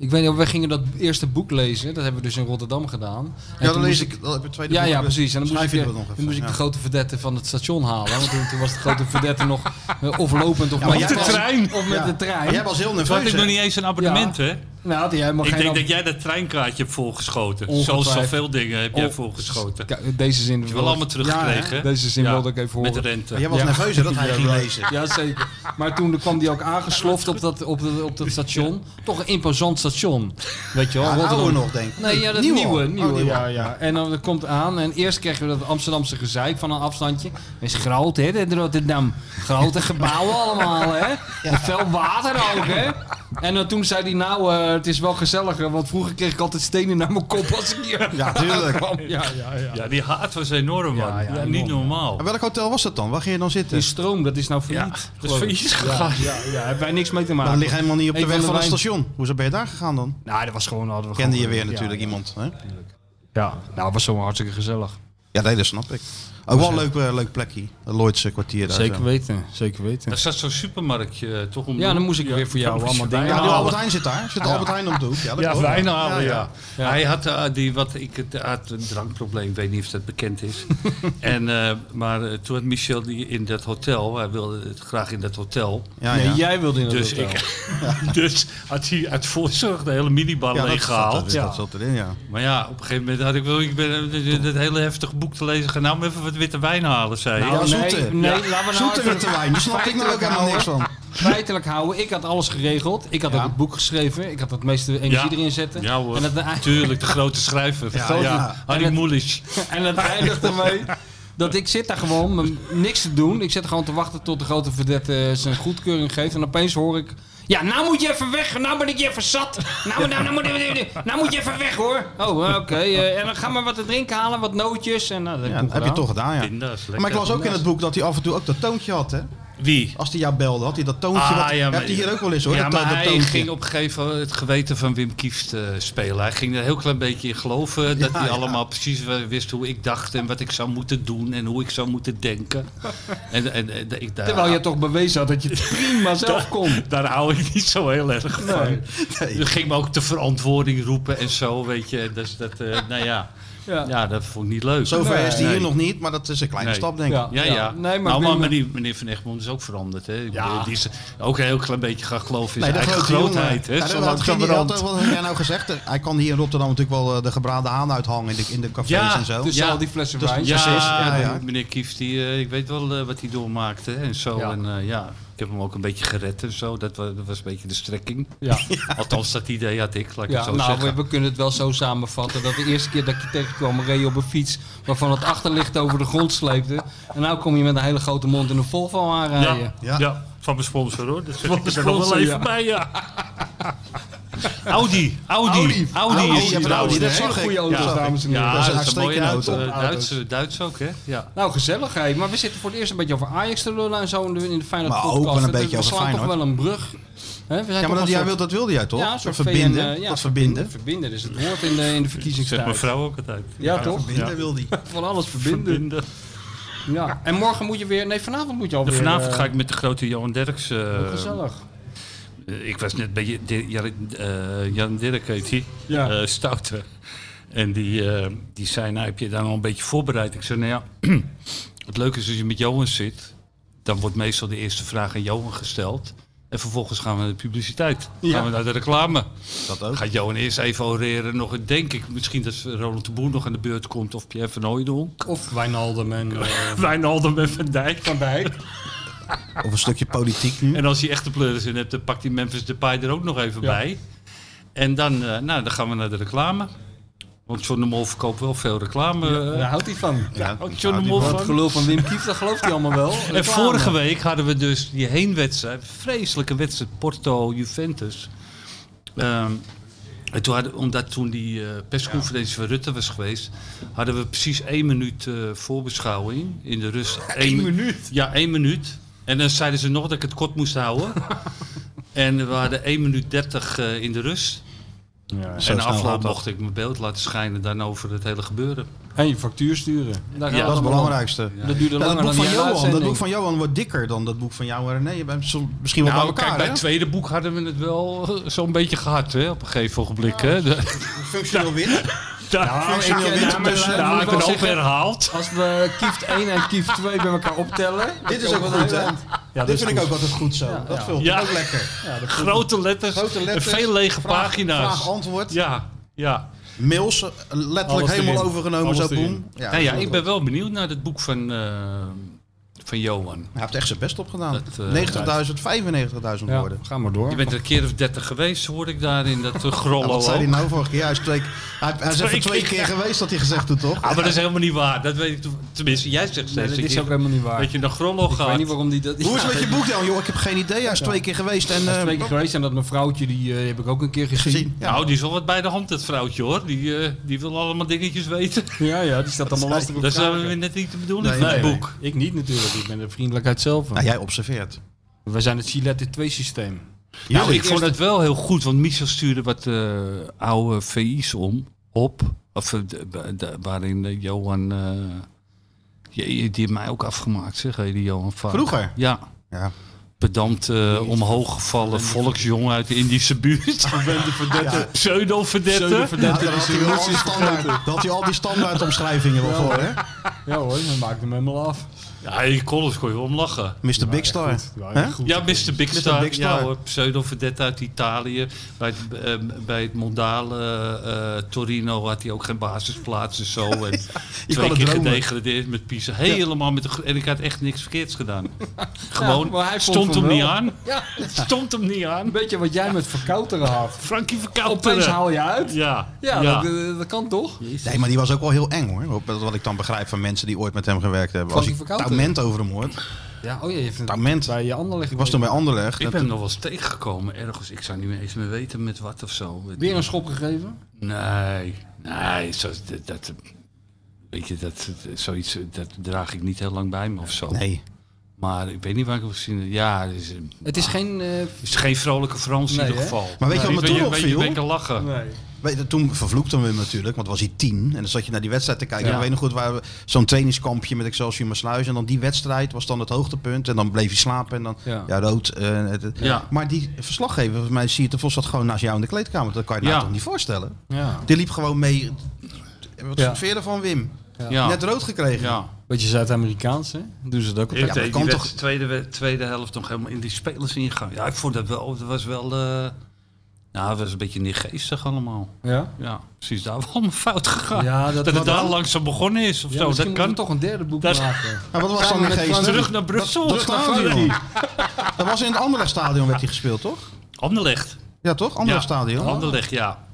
[SPEAKER 2] Ik weet niet, wij gingen dat eerste boek lezen. Dat hebben we dus in Rotterdam gedaan. En
[SPEAKER 3] Ja, dan
[SPEAKER 2] toen
[SPEAKER 3] lees
[SPEAKER 2] moest
[SPEAKER 3] ik dat heb ik tweede
[SPEAKER 2] Ja,
[SPEAKER 3] boek.
[SPEAKER 2] ja, precies. En dan moest, ik,
[SPEAKER 3] Schrijf je
[SPEAKER 2] de-
[SPEAKER 3] dat nog even,
[SPEAKER 2] dan moest ik
[SPEAKER 3] ja.
[SPEAKER 2] de grote verdette van het station halen. Want toen, toen was de grote verdette nog eh, of lopend of
[SPEAKER 3] Ja,
[SPEAKER 2] met
[SPEAKER 3] maar jij
[SPEAKER 2] de
[SPEAKER 3] was-
[SPEAKER 2] trein. Of met
[SPEAKER 3] Ja.
[SPEAKER 2] de trein.
[SPEAKER 3] Maar jij was heel
[SPEAKER 4] toen had
[SPEAKER 3] nerveus.
[SPEAKER 4] ik nog
[SPEAKER 3] hè?
[SPEAKER 4] niet eens een abonnement, hè?
[SPEAKER 2] Nou, had hij helemaal
[SPEAKER 4] Ik
[SPEAKER 2] geen
[SPEAKER 4] denk dat jij dat treinkaartje hebt volgeschoten.
[SPEAKER 2] Ongetwijfeld.
[SPEAKER 4] Zoals zoveel dingen heb jij
[SPEAKER 2] Oh.
[SPEAKER 4] volgeschoten. Heb
[SPEAKER 2] Kijk, Deze zin
[SPEAKER 4] je
[SPEAKER 2] wil
[SPEAKER 4] wel
[SPEAKER 2] ik-
[SPEAKER 4] allemaal teruggekregen. hè?
[SPEAKER 2] Deze zin
[SPEAKER 4] Ja,
[SPEAKER 2] wilde ik even
[SPEAKER 4] Met
[SPEAKER 2] horen.
[SPEAKER 4] de rente.
[SPEAKER 3] Maar jij was
[SPEAKER 2] Ja.
[SPEAKER 3] nerveus hè, dat hij ging lezen.
[SPEAKER 2] Ja, zeker. Maar toen kwam die ook aangesloft op dat, op dat, op dat station. Toch een imposant station. Weet je wel.
[SPEAKER 3] Ja, het
[SPEAKER 2] Rotterdam.
[SPEAKER 3] oude nog, denk ik.
[SPEAKER 2] Nee, ja, dat
[SPEAKER 3] Nieuwe.
[SPEAKER 2] nieuwe. nieuwe,
[SPEAKER 3] Oh, nieuwe.
[SPEAKER 2] Ja, ja. En dan dat komt aan. En eerst krijgen we dat Amsterdamse gezeik van een afstandje. Dat is groot, hè, dit Rotterdam. Grote gebouwen allemaal, hè. En veel water ook, hè. En eh, toen zei hij, nou, eh, het is wel gezelliger. Want vroeger kreeg ik altijd stenen naar mijn kop als ik hier
[SPEAKER 3] Ja, tuurlijk.
[SPEAKER 2] kwam. Ja, ja, ja.
[SPEAKER 4] Ja, die haat was enorm, man.
[SPEAKER 2] Ja, ja,
[SPEAKER 4] Ja,
[SPEAKER 2] enorm.
[SPEAKER 4] niet normaal.
[SPEAKER 3] En welk hotel was dat dan? Waar ging je dan
[SPEAKER 2] Die
[SPEAKER 3] zitten?
[SPEAKER 2] stroom, dat is nou
[SPEAKER 4] Ja,
[SPEAKER 2] failliet.
[SPEAKER 4] dat is
[SPEAKER 2] geloof ik.
[SPEAKER 4] failliet gegaan.
[SPEAKER 2] Ja, ja, ja, hebben wij niks mee te
[SPEAKER 3] Nou,
[SPEAKER 2] maken.
[SPEAKER 3] ligt helemaal niet op de
[SPEAKER 2] Een
[SPEAKER 3] weg
[SPEAKER 2] de
[SPEAKER 3] van het
[SPEAKER 2] wijn-
[SPEAKER 3] station. Hoezo ben je daar gegaan dan?
[SPEAKER 2] Nou, dat was gewoon... Hadden we
[SPEAKER 3] Kende je
[SPEAKER 2] gewoon-
[SPEAKER 3] weer
[SPEAKER 2] ja,
[SPEAKER 3] natuurlijk
[SPEAKER 2] ja.
[SPEAKER 3] iemand. Hè?
[SPEAKER 2] Ja, nou, het was zomaar hartstikke gezellig.
[SPEAKER 3] Ja, nee, dat snap ik. Ook wel een leuk, eh, leuk plekje. Dat Lloydse kwartier daar.
[SPEAKER 2] Zeker
[SPEAKER 3] zo.
[SPEAKER 2] weten, zeker weten.
[SPEAKER 4] Daar zat zo'n supermarktje eh, toch om. de
[SPEAKER 2] Ja, dan
[SPEAKER 4] hoek.
[SPEAKER 2] moest ik weer voor jou
[SPEAKER 4] moest
[SPEAKER 2] allemaal
[SPEAKER 4] je
[SPEAKER 2] dingen
[SPEAKER 4] bijna
[SPEAKER 3] Ja, de
[SPEAKER 2] halen.
[SPEAKER 3] Albert Heijn zit daar. Zit de Albert Heijn op de hoek? Ja, dat
[SPEAKER 4] Nou. Ja,
[SPEAKER 3] klopt.
[SPEAKER 4] wijn halen, ja.
[SPEAKER 2] Ja.
[SPEAKER 4] Hij had eh, die, wat ik het had een drankprobleem, ik weet niet of dat bekend is. en, eh, maar eh, toen had Michel die in dat hotel, hij wilde het graag in dat hotel.
[SPEAKER 3] Ja,
[SPEAKER 2] nee,
[SPEAKER 3] ja.
[SPEAKER 2] jij wilde in het
[SPEAKER 4] Dus,
[SPEAKER 2] hotel.
[SPEAKER 4] ik, dus had hij uit voorzorg de hele minibar
[SPEAKER 3] Ja, dat, zat,
[SPEAKER 4] leeggehaald.
[SPEAKER 3] dat, dat zat erin, ja.
[SPEAKER 4] Maar ja, op een gegeven moment had ik wel, ik ben eh, dat hele heftige boek te lezen. Ga nou maar even wat witte wijn halen, zei hij.
[SPEAKER 3] Nou,
[SPEAKER 2] nee,
[SPEAKER 3] zoete.
[SPEAKER 2] nee,
[SPEAKER 4] Ja.
[SPEAKER 2] laten we nou
[SPEAKER 3] Zoete
[SPEAKER 2] even
[SPEAKER 3] witte wijn, daar snap ik nou ook helemaal niks van.
[SPEAKER 2] feitelijk houden. Ik had alles geregeld. Ik had ook het boek geschreven. Ik had het meeste energie
[SPEAKER 4] Ja.
[SPEAKER 2] erin zetten.
[SPEAKER 4] Ja hoor,
[SPEAKER 2] En het,
[SPEAKER 4] tuurlijk, de grote schrijver. Ja,
[SPEAKER 3] grote-
[SPEAKER 2] En
[SPEAKER 4] Harry
[SPEAKER 2] het-
[SPEAKER 4] Mulisch.
[SPEAKER 2] en het eindigt ermee dat ik zit daar gewoon met niks te doen. Ik zit gewoon te wachten tot de grote verdette eh, zijn goedkeuring geeft. En opeens hoor ik... Ja, nou moet je even weg. Nou ben ik je even zat. Nou, nou, nou, moet, nou moet je even weg hoor. Oh, eh, oké. eh, en dan ga maar wat te drinken halen. Wat nootjes. En, nou, dat
[SPEAKER 3] Ja,
[SPEAKER 2] heb ik
[SPEAKER 3] heb je
[SPEAKER 2] gedaan.
[SPEAKER 3] toch gedaan, ja.
[SPEAKER 4] Pinda's, lekker.
[SPEAKER 3] Maar ik las ook in het boek dat hij af en toe ook dat toontje had, hè?
[SPEAKER 4] Wie?
[SPEAKER 3] Als hij jou belde, had hij dat toontje.
[SPEAKER 4] Ah,
[SPEAKER 3] wat, heb je hier ook wel eens hoor.
[SPEAKER 4] Ja,
[SPEAKER 3] dat,
[SPEAKER 4] maar
[SPEAKER 3] dat
[SPEAKER 4] hij
[SPEAKER 3] toontje.
[SPEAKER 4] ging op een gegeven moment het geweten van Wim Kieft eh, spelen. Hij ging er een heel klein beetje in geloven dat
[SPEAKER 3] Ja,
[SPEAKER 4] hij
[SPEAKER 3] ja.
[SPEAKER 4] allemaal precies w- wist hoe ik dacht en wat ik zou moeten doen en hoe ik zou moeten denken. en, en, en ik, daar,
[SPEAKER 2] Terwijl je toch bewezen had dat je het prima zelf kon.
[SPEAKER 4] daar hou ik niet zo heel erg van.
[SPEAKER 2] Nee.
[SPEAKER 4] Je ging me ook de verantwoording roepen en zo, weet je. Dus dat, eh, nou ja.
[SPEAKER 2] Ja.
[SPEAKER 4] Ja. dat vond ik niet leuk.
[SPEAKER 3] Zover
[SPEAKER 2] Nee.
[SPEAKER 3] is hij
[SPEAKER 4] Nee.
[SPEAKER 3] hier nog niet, maar dat is een kleine
[SPEAKER 4] Nee.
[SPEAKER 3] stap denk ik.
[SPEAKER 2] Ja.
[SPEAKER 4] Ja, ja.
[SPEAKER 2] Nee, maar
[SPEAKER 4] nou, maar
[SPEAKER 2] Wim-
[SPEAKER 4] meneer, meneer Van Egmond is ook veranderd. Hè? Ik bedoel, die is ook een heel klein beetje gaan geloven in
[SPEAKER 3] Nee,
[SPEAKER 4] zijn
[SPEAKER 3] dat
[SPEAKER 4] eigen
[SPEAKER 3] grote
[SPEAKER 4] grootheid.
[SPEAKER 3] jongen.
[SPEAKER 4] Hè?
[SPEAKER 3] Ja,
[SPEAKER 4] zo
[SPEAKER 3] dat had geen-
[SPEAKER 4] langzamerhand.
[SPEAKER 3] had- Wat heb jij nou gezegd? Hij kan hier in Rotterdam natuurlijk wel eh, de gebraden haan uithangen in de, in de cafés
[SPEAKER 4] Ja,
[SPEAKER 3] en zo.
[SPEAKER 2] Dus
[SPEAKER 4] Ja.
[SPEAKER 2] al die flessen
[SPEAKER 3] Dus-
[SPEAKER 2] wijn.
[SPEAKER 4] Ja,
[SPEAKER 3] Precies, ja, ja.
[SPEAKER 4] meneer Kieft, die, eh, ik weet wel eh, wat hij doormaakte hè, en zo.
[SPEAKER 2] Ja.
[SPEAKER 4] En, eh, ja, ik heb hem ook een beetje gered en zo. Dat was, dat was een beetje de strekking.
[SPEAKER 2] Ja.
[SPEAKER 4] Althans, dat idee had ik, laat ik
[SPEAKER 2] Ja,
[SPEAKER 4] het zo
[SPEAKER 2] nou, we,
[SPEAKER 4] zeggen.
[SPEAKER 2] we kunnen het wel zo samenvatten dat de eerste keer dat ik je tegenkwam reed je op een fiets waarvan het achterlicht over de grond sleepte. En nou kom je met een hele grote mond in een Volvo aanrijden.
[SPEAKER 5] Ja,
[SPEAKER 3] Ja.
[SPEAKER 5] ja. van mijn sponsor hoor. Dus ik ben er
[SPEAKER 2] sponsor,
[SPEAKER 5] nog wel even
[SPEAKER 2] ja.
[SPEAKER 5] bij, ja.
[SPEAKER 4] Audi, Audi, Audi,
[SPEAKER 3] Audi,
[SPEAKER 4] is die
[SPEAKER 2] Nou,
[SPEAKER 3] ja, Audi,
[SPEAKER 4] trouwens,
[SPEAKER 3] dat
[SPEAKER 4] hè?
[SPEAKER 3] zag ik.
[SPEAKER 2] goede auto's,
[SPEAKER 3] Ja.
[SPEAKER 2] dames en heren.
[SPEAKER 4] Ja,
[SPEAKER 3] Dat is
[SPEAKER 4] dat is een
[SPEAKER 3] uitstekende
[SPEAKER 4] mooie auto. Eh,
[SPEAKER 3] auto.
[SPEAKER 4] Duits, Duits ook, hè? Ja.
[SPEAKER 2] Nou, gezellig hé. Maar we zitten voor het eerst een beetje over Ajax te lullen en zo in de, in de Feyenoord
[SPEAKER 3] Maar ook
[SPEAKER 2] podcast.
[SPEAKER 3] wel een
[SPEAKER 2] Het-
[SPEAKER 3] beetje
[SPEAKER 2] we
[SPEAKER 3] over
[SPEAKER 2] slaan toch
[SPEAKER 3] Feyenoord.
[SPEAKER 2] wel een brug. Hè, we zijn
[SPEAKER 3] Ja,
[SPEAKER 2] toch
[SPEAKER 3] maar dat,
[SPEAKER 2] een
[SPEAKER 3] jij
[SPEAKER 2] soort-
[SPEAKER 3] wilt, dat wilde jij toch?
[SPEAKER 2] Ja, een soort
[SPEAKER 3] Dat verbinden.
[SPEAKER 2] VN, eh, ja,
[SPEAKER 3] dat verbinden.
[SPEAKER 2] Verbinden is het woord in de, in de
[SPEAKER 5] Zegt mijn
[SPEAKER 2] verkiezingstijd.
[SPEAKER 5] vrouw ook altijd.
[SPEAKER 2] Ja, toch?
[SPEAKER 3] Verbinden wil die.
[SPEAKER 2] Van alles verbinden.
[SPEAKER 5] Verbinden.
[SPEAKER 2] Ja. En morgen moet je weer... Nee, vanavond moet je alweer...
[SPEAKER 4] Vanavond
[SPEAKER 2] eh,
[SPEAKER 4] ga ik met de grote Johan Derks. eh,
[SPEAKER 2] Gezellig.
[SPEAKER 4] eh, ik was net bij je- Di- Jar- eh, Jan Dirk, heet hij.
[SPEAKER 2] Ja.
[SPEAKER 4] Eh, Stoute. En die, eh, die zei, nou heb je daar al een beetje voorbereid? Ik zei, nou ja, het leuke is als je met Johan zit, dan wordt meestal de eerste vraag aan Johan gesteld. En vervolgens gaan we naar de publiciteit.
[SPEAKER 2] Ja.
[SPEAKER 4] Gaan we naar de reclame.
[SPEAKER 3] Dat ook.
[SPEAKER 4] Gaat Johan eerst even oreren. Nog, een- denk ik misschien dat Ronald de Boer nog aan de beurt komt. Of Pierre van Hooijdonk.
[SPEAKER 2] Of Wijnaldum en eh,
[SPEAKER 5] Wijnaldum en Van Dijk.
[SPEAKER 2] Van Dijk.
[SPEAKER 3] Of een stukje politiek nu.
[SPEAKER 4] En als hij echt de pleuris in hebt, dan pakt hij Memphis Depay er ook nog even
[SPEAKER 2] Ja.
[SPEAKER 4] bij. En dan, eh, nou, dan gaan we naar de reclame. Want John de Mol verkoopt wel veel reclame. eh,
[SPEAKER 2] Daar houdt hij van.
[SPEAKER 3] Ja,
[SPEAKER 4] ook John
[SPEAKER 3] dat
[SPEAKER 4] de
[SPEAKER 3] houdt
[SPEAKER 4] Mol
[SPEAKER 3] hij
[SPEAKER 2] Dat
[SPEAKER 4] van.
[SPEAKER 2] gelul van Wim Kieft, dat gelooft hij allemaal wel.
[SPEAKER 4] En vorige week hadden we dus die heenwedstrijd. Vreselijke wedstrijd. Porto-Juventus. Ehm, en toen hadden, omdat toen die eh, persconferentie van Rutte was geweest... hadden we precies één minuut eh, voorbeschouwing. In de rust. Eén mi-
[SPEAKER 2] minuut.
[SPEAKER 4] Ja, één minuut. En dan zeiden ze nog dat ik het kort moest houden. en we hadden 1 minuut 30 eh, in de rust.
[SPEAKER 3] Zo
[SPEAKER 4] en na
[SPEAKER 3] snel gaat
[SPEAKER 4] afloop
[SPEAKER 3] dat.
[SPEAKER 4] mocht ik mijn beeld laten schijnen dan over het hele gebeuren.
[SPEAKER 2] En je factuur sturen. Daar gaat
[SPEAKER 4] Ja,
[SPEAKER 3] Dat is het
[SPEAKER 2] allemaal om.
[SPEAKER 3] belangrijkste.
[SPEAKER 2] Dat duurde
[SPEAKER 3] Ja, dat,
[SPEAKER 2] langer
[SPEAKER 3] boek
[SPEAKER 2] dan
[SPEAKER 3] van
[SPEAKER 2] die
[SPEAKER 3] Johan, dat
[SPEAKER 2] uitzending.
[SPEAKER 3] boek van Johan wordt dikker dan dat boek van jou en René. Je bent soms misschien wel bij elkaar.
[SPEAKER 4] Nou, kijk, bij het
[SPEAKER 3] hè?
[SPEAKER 4] tweede boek hadden we het wel eh, zo'n beetje gehad hè, op een gegeven ogenblik. Hè. De-
[SPEAKER 3] Functioneel wit.
[SPEAKER 2] ik-
[SPEAKER 3] Functioneel wit
[SPEAKER 2] ja, maar-
[SPEAKER 3] tussen.
[SPEAKER 2] Ja,
[SPEAKER 4] Ja,
[SPEAKER 2] moet
[SPEAKER 4] ik
[SPEAKER 2] wel
[SPEAKER 4] ben ook
[SPEAKER 2] zeggen-
[SPEAKER 4] herhaald.
[SPEAKER 2] Als we Kieft 1 en Kieft 2 bij elkaar optellen.
[SPEAKER 3] Dit is ook wel goed, hè?
[SPEAKER 2] Ja,
[SPEAKER 3] Dit
[SPEAKER 2] dat
[SPEAKER 3] vind ik ook altijd goed zo. Dat vult
[SPEAKER 4] Ja.
[SPEAKER 3] ook lekker.
[SPEAKER 4] Grote letters,
[SPEAKER 3] Grote letters,
[SPEAKER 4] en veel lege
[SPEAKER 3] vraag-
[SPEAKER 4] pagina's.
[SPEAKER 3] Vraag, antwoord.
[SPEAKER 4] ja, ja.
[SPEAKER 3] Mails eh, letterlijk
[SPEAKER 5] Alles
[SPEAKER 3] helemaal
[SPEAKER 5] erin.
[SPEAKER 3] overgenomen.
[SPEAKER 5] Alles
[SPEAKER 3] zo
[SPEAKER 5] erin.
[SPEAKER 3] boem. Ja,
[SPEAKER 4] Nou ja,
[SPEAKER 3] dat is
[SPEAKER 4] ik
[SPEAKER 3] wel-
[SPEAKER 4] ben wel benieuwd naar het boek van, eh, van Johan.
[SPEAKER 3] Hij heeft echt zijn best opgedaan.
[SPEAKER 4] Dat, eh,
[SPEAKER 3] 90.000, 95.000 woorden.
[SPEAKER 2] ga maar door.
[SPEAKER 4] Je bent er een keer of dertig geweest, hoorde ik daar in dat eh,
[SPEAKER 3] Ja,
[SPEAKER 4] grollo.
[SPEAKER 3] wat zei hij
[SPEAKER 4] ook.
[SPEAKER 3] nou vorige keer? Hij is twee, hij, hij is
[SPEAKER 4] Twee
[SPEAKER 3] even twee
[SPEAKER 4] keer.
[SPEAKER 3] keer geweest, dat hij gezegd doet, toch?
[SPEAKER 4] Ah, maar dat is helemaal niet waar. Dat weet ik to- tenminste. Jij zegt
[SPEAKER 2] Nee,
[SPEAKER 4] steeds
[SPEAKER 2] dat
[SPEAKER 4] dat,
[SPEAKER 2] is
[SPEAKER 4] je,
[SPEAKER 2] ook helemaal niet waar.
[SPEAKER 4] dat je naar Grollo
[SPEAKER 2] ik weet
[SPEAKER 4] gaat.
[SPEAKER 2] niet waarom die dat...
[SPEAKER 3] Hoe is het met je boek dan? Joh, ik heb geen idee. Hij is twee keer geweest en...
[SPEAKER 2] Dat is
[SPEAKER 3] eh,
[SPEAKER 2] twee keer geweest en dat mevrouwtje, die eh, heb ik ook een keer gezien.
[SPEAKER 3] gezien. Ja.
[SPEAKER 4] Nou, die is wel wat bij de hand, dat vrouwtje hoor. Die, eh, die wil allemaal dingetjes weten.
[SPEAKER 2] Ja, ja, die staat allemaal lastig op
[SPEAKER 4] Dat is
[SPEAKER 2] elkaar.
[SPEAKER 4] eh, net niet de bedoeling
[SPEAKER 3] Nee,
[SPEAKER 4] van het
[SPEAKER 3] nee,
[SPEAKER 4] boek.
[SPEAKER 2] Ik niet natuurlijk, ik ben de vriendelijkheid zelf.
[SPEAKER 3] Nou, jij observeert.
[SPEAKER 2] We zijn het Gillette 2 systeem.
[SPEAKER 4] Nou, ik vond het wel heel goed, want Michel stuurde wat eh, oude VI's om, op. Of, eh, de- de- de- waarin eh, Johan... eh, je- je- die heeft mij ook afgemaakt, zeg hé, die Johan Vaak.
[SPEAKER 3] Vroeger?
[SPEAKER 4] Ja.
[SPEAKER 3] Ja.
[SPEAKER 4] Pedant eh, omhooggevallen volksjongen uit de Indische buurt. verdette. Pseudo-verdette.
[SPEAKER 3] Ja, daar had hij wel al die standaard- daar had hij al die standaardomschrijvingen wel voor, hè?
[SPEAKER 2] Ja hoor, dan maakt hem helemaal af.
[SPEAKER 4] Ja, die Collins kon je wel om lachen.
[SPEAKER 3] Mr. Big Star. Hè?
[SPEAKER 4] Ja, Mr. Big Star.
[SPEAKER 3] Big Star.
[SPEAKER 4] Ja hoor, pseudo-verdette uit Italië. Bij het, eh, bij het mondale eh, Torino had hij ook geen basisplaats en zo. En twee
[SPEAKER 3] het
[SPEAKER 4] keer
[SPEAKER 3] dromen.
[SPEAKER 4] gedegradeerd met Pisa. Helemaal met de... gro- En ik had echt niks verkeerds gedaan. Gewoon,
[SPEAKER 2] maar hij vond
[SPEAKER 4] stond
[SPEAKER 2] van
[SPEAKER 4] hem niet
[SPEAKER 2] wel.
[SPEAKER 4] aan. Het stond hem niet aan.
[SPEAKER 2] Een beetje wat jij met verkouteren had.
[SPEAKER 4] Frankie
[SPEAKER 2] Opeens
[SPEAKER 4] Verkouteren.
[SPEAKER 2] haal je uit.
[SPEAKER 4] Ja,
[SPEAKER 2] Ja,
[SPEAKER 4] ja.
[SPEAKER 2] Dat, eh, dat kan toch?
[SPEAKER 3] Nee, maar die was ook wel heel eng, hoor. Op- dat Wat ik dan begrijp van mensen die ooit met hem gewerkt hebben. Als
[SPEAKER 2] Frankie
[SPEAKER 3] ik
[SPEAKER 2] Verkouteren.
[SPEAKER 3] Taument over hem hoort.
[SPEAKER 2] Ja, oh ja, je hebt het
[SPEAKER 3] Taument.
[SPEAKER 2] bij je ander liggen.
[SPEAKER 3] Nou, Ik was toen bij Anderlecht.
[SPEAKER 4] Ik
[SPEAKER 3] En
[SPEAKER 4] ben hem nog wel eens tegengekomen ergens. Ik zou niet meer eens meer weten met wat of zo.
[SPEAKER 2] Weer een schop gegeven?
[SPEAKER 4] Nee, nee. Zo, dat, dat- weet je, dat, zoiets, dat draag ik niet heel lang bij me of zo.
[SPEAKER 3] toen- Nee.
[SPEAKER 4] Maar ik weet niet waar ik het gezien heb. Ja, het is,
[SPEAKER 2] Het is geen... eh,
[SPEAKER 4] het is geen vrolijke Frans
[SPEAKER 2] Nee,
[SPEAKER 4] in ieder
[SPEAKER 2] hè?
[SPEAKER 4] geval.
[SPEAKER 3] Maar weet je wat me
[SPEAKER 4] je,
[SPEAKER 3] toen
[SPEAKER 4] je, je,
[SPEAKER 3] opviel?
[SPEAKER 4] je lachen.
[SPEAKER 2] nee.
[SPEAKER 3] Weet je, toen vervloekte hem natuurlijk, want was hij tien. En dan zat je naar die wedstrijd te kijken.
[SPEAKER 4] Ja.
[SPEAKER 3] En Ik weet nog goed, waar we- zo'n trainingskampje met Excelsior Maasluis. En dan die wedstrijd was dan het hoogtepunt. En dan bleef hij slapen. En dan,
[SPEAKER 2] Ja.
[SPEAKER 3] ja, rood. eh, het- het-
[SPEAKER 4] Ja.
[SPEAKER 3] Maar die verslaggever, van mij, zie je te vos, zat gewoon naast jou in de kleedkamer. Dat kan je nou
[SPEAKER 4] Ja.
[SPEAKER 3] toch niet voorstellen?
[SPEAKER 2] Ja.
[SPEAKER 3] Die liep gewoon mee. Wat
[SPEAKER 2] Ja.
[SPEAKER 3] ja. veer van Wim?
[SPEAKER 4] Ja.
[SPEAKER 3] Net rood gekregen.
[SPEAKER 4] Ja.
[SPEAKER 2] Beetje Zuid-Amerikaans, hè? Doen ze dat ook
[SPEAKER 4] Ik
[SPEAKER 2] op.
[SPEAKER 4] deed
[SPEAKER 3] dat
[SPEAKER 4] die
[SPEAKER 3] kan
[SPEAKER 4] wed-
[SPEAKER 3] toch?
[SPEAKER 4] tweede, we- tweede helft nog helemaal in die spelers ingaan. Ja, ik vond dat wel. Dat was wel. eh, nou, het was een beetje neergeestig allemaal.
[SPEAKER 2] Ja?
[SPEAKER 4] Ja, precies. Daar wel een fout gegaan.
[SPEAKER 2] Ja, dat-
[SPEAKER 4] dat,
[SPEAKER 2] wat
[SPEAKER 4] het daar
[SPEAKER 2] dan?
[SPEAKER 4] langzaam begonnen is of
[SPEAKER 2] Ja,
[SPEAKER 4] zo. Dat
[SPEAKER 2] misschien
[SPEAKER 4] kan
[SPEAKER 2] moeten we
[SPEAKER 4] toch.
[SPEAKER 2] toch een derde boek
[SPEAKER 4] Dat-
[SPEAKER 2] maken.
[SPEAKER 3] Maar wat was
[SPEAKER 2] Gaan
[SPEAKER 3] dan
[SPEAKER 2] we
[SPEAKER 3] een
[SPEAKER 2] met
[SPEAKER 3] geest?
[SPEAKER 2] Frans
[SPEAKER 4] Terug naar Brussel.
[SPEAKER 3] Dat
[SPEAKER 4] terug naar
[SPEAKER 3] stadion. Dat was in het andere stadion werd hij gespeeld, toch?
[SPEAKER 4] Anderlecht.
[SPEAKER 3] Ja, toch? Andere
[SPEAKER 4] Ja,
[SPEAKER 3] stadion.
[SPEAKER 4] Anderlecht, ja.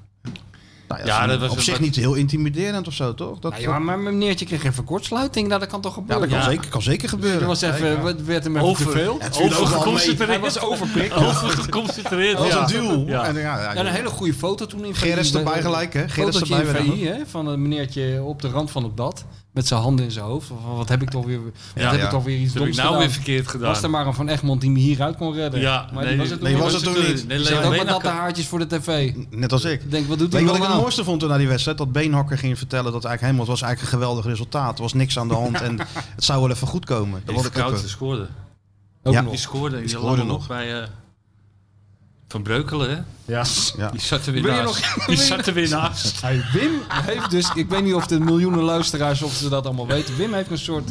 [SPEAKER 3] Nou ja,
[SPEAKER 4] Ja,
[SPEAKER 3] dat
[SPEAKER 4] dat
[SPEAKER 3] was
[SPEAKER 4] was
[SPEAKER 3] op
[SPEAKER 4] een-
[SPEAKER 3] zich niet heel intimiderend of zo, toch? Dat,
[SPEAKER 2] Nou ja, maar mijn meneertje kreeg even kortsluiting. Nou, dat kan toch
[SPEAKER 3] ja,
[SPEAKER 2] gebeuren?
[SPEAKER 3] dat kan,
[SPEAKER 4] Ja.
[SPEAKER 3] Zeker, kan zeker gebeuren.
[SPEAKER 2] Er was even, eh, wat werd hem even
[SPEAKER 4] Over.
[SPEAKER 2] te veel.
[SPEAKER 3] Ja, het viel ook wel mee.
[SPEAKER 2] Hij
[SPEAKER 4] Overgeconcentreerd.
[SPEAKER 2] was overprikkeld.
[SPEAKER 4] Overgeconcentreerd.
[SPEAKER 3] Dat was
[SPEAKER 4] ja.
[SPEAKER 3] een duel.
[SPEAKER 4] Ja.
[SPEAKER 3] En, ja, ja,
[SPEAKER 2] En een hele goede foto toen in
[SPEAKER 3] Gerrit is
[SPEAKER 2] VI.
[SPEAKER 3] erbij gelijk, hè? Gerrit is
[SPEAKER 2] Fotootje
[SPEAKER 3] erbij
[SPEAKER 2] in
[SPEAKER 3] weer,
[SPEAKER 2] VI, hè? Van een meneertje op de rand van het bad. Met zijn handen in zijn hoofd. Van, wat heb ik toch weer, wat heb
[SPEAKER 3] ja.
[SPEAKER 2] ik toch weer iets
[SPEAKER 4] Dat heb
[SPEAKER 2] doms
[SPEAKER 4] ik nou weer
[SPEAKER 2] gedaan?
[SPEAKER 4] verkeerd
[SPEAKER 2] was er
[SPEAKER 4] gedaan.
[SPEAKER 2] maar een Van Egmond die me hieruit kon redden. maar die was het
[SPEAKER 3] nee,
[SPEAKER 2] ook
[SPEAKER 3] was
[SPEAKER 2] niet.
[SPEAKER 3] het toen niet.
[SPEAKER 4] Nee,
[SPEAKER 2] Die zat
[SPEAKER 4] Leon
[SPEAKER 2] ook met natte
[SPEAKER 4] Beenhakker.
[SPEAKER 2] haartjes voor de tv.
[SPEAKER 3] Net als ik.
[SPEAKER 2] Ik denk, wat doet
[SPEAKER 3] Weet
[SPEAKER 2] hij
[SPEAKER 3] je wat ik
[SPEAKER 2] nou?
[SPEAKER 3] het mooiste vond toen na die wedstrijd? Dat Beenhakker ging vertellen dat eigenlijk helemaal... Het was eigenlijk een geweldig resultaat. Er was niks aan de hand en het zou wel even goed komen.
[SPEAKER 4] Die
[SPEAKER 3] Dat was ik ook. eh,
[SPEAKER 4] Verkouten scoorde.
[SPEAKER 2] Ook
[SPEAKER 3] Ja.
[SPEAKER 4] Die
[SPEAKER 2] eh. nog.
[SPEAKER 4] scoorde. Die
[SPEAKER 3] scoorde
[SPEAKER 4] scoorde
[SPEAKER 3] nog.
[SPEAKER 4] nog bij eh, Van Breukelen, hè?
[SPEAKER 5] Ja.
[SPEAKER 4] Die zat er weer
[SPEAKER 2] Wil je
[SPEAKER 4] naast. Die zat er weer naast.
[SPEAKER 2] Hey, Wim heeft dus, ik weet niet of de miljoenen luisteraars of ze dat allemaal weten. Wim heeft een soort,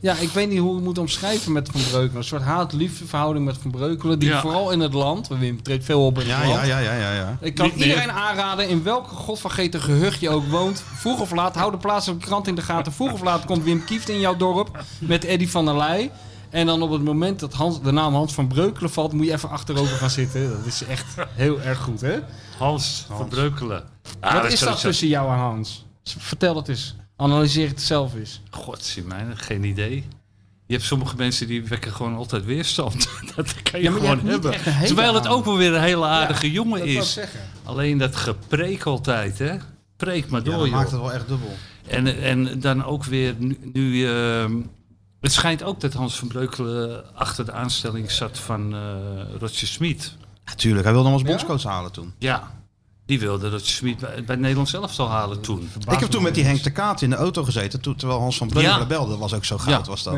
[SPEAKER 2] ja, ik weet niet hoe ik het moet omschrijven met Van Breukelen. Een soort haat-liefde verhouding met Van Breukelen. Die
[SPEAKER 4] Ja.
[SPEAKER 2] vooral in het land, want Wim treedt veel op in het
[SPEAKER 3] Ja,
[SPEAKER 2] land.
[SPEAKER 3] ja, ja, ja, ja. ja.
[SPEAKER 2] Ik kan
[SPEAKER 4] Niet meer.
[SPEAKER 2] iedereen aanraden, in welk godvergeten gehucht je ook woont. Vroeg of laat, hou de plaatselijke krant in de gaten. Vroeg of laat komt Wim Kieft in jouw dorp met Eddy van der Leij. En dan op het moment dat Hans, de naam Hans van Breukelen valt, moet je even achterover gaan zitten. Dat is echt heel erg goed, hè?
[SPEAKER 4] Hans Van Breukelen.
[SPEAKER 2] Wat
[SPEAKER 4] Ah,
[SPEAKER 2] is Ah, dat
[SPEAKER 4] sowieso-
[SPEAKER 2] tussen jou en Hans? Vertel het eens. Analyseer het zelf eens.
[SPEAKER 4] Godzie mijne, geen idee. Je hebt sommige mensen die wekken gewoon altijd weerstand. Dat kan je
[SPEAKER 2] Ja, maar je
[SPEAKER 4] gewoon
[SPEAKER 2] hebt niet
[SPEAKER 4] hebben.
[SPEAKER 2] echt een hele
[SPEAKER 4] Terwijl het ook wel weer een hele aardige
[SPEAKER 2] Dat
[SPEAKER 4] jongen
[SPEAKER 2] wil ik
[SPEAKER 4] is.
[SPEAKER 2] zeggen.
[SPEAKER 4] Alleen dat gepreek altijd, hè? Preek maar
[SPEAKER 3] Ja,
[SPEAKER 4] door,
[SPEAKER 3] dat
[SPEAKER 4] joh.
[SPEAKER 3] maakt het wel echt dubbel.
[SPEAKER 4] En, en dan ook weer nu... nu ehm, het schijnt ook dat Hans van Breukelen achter de aanstelling zat van eh Roger Smit.
[SPEAKER 3] Natuurlijk, hij wilde hem als bondscoach halen toen.
[SPEAKER 4] Ja, die wilde Roger Smit bij, bij het Nederlands elftal halen toen.
[SPEAKER 3] Ik heb toen met die Henk de Kaat in de auto gezeten, toen- terwijl Hans van Breukelen belde. Dat was ook zo goud,
[SPEAKER 4] Ja.
[SPEAKER 3] was dat.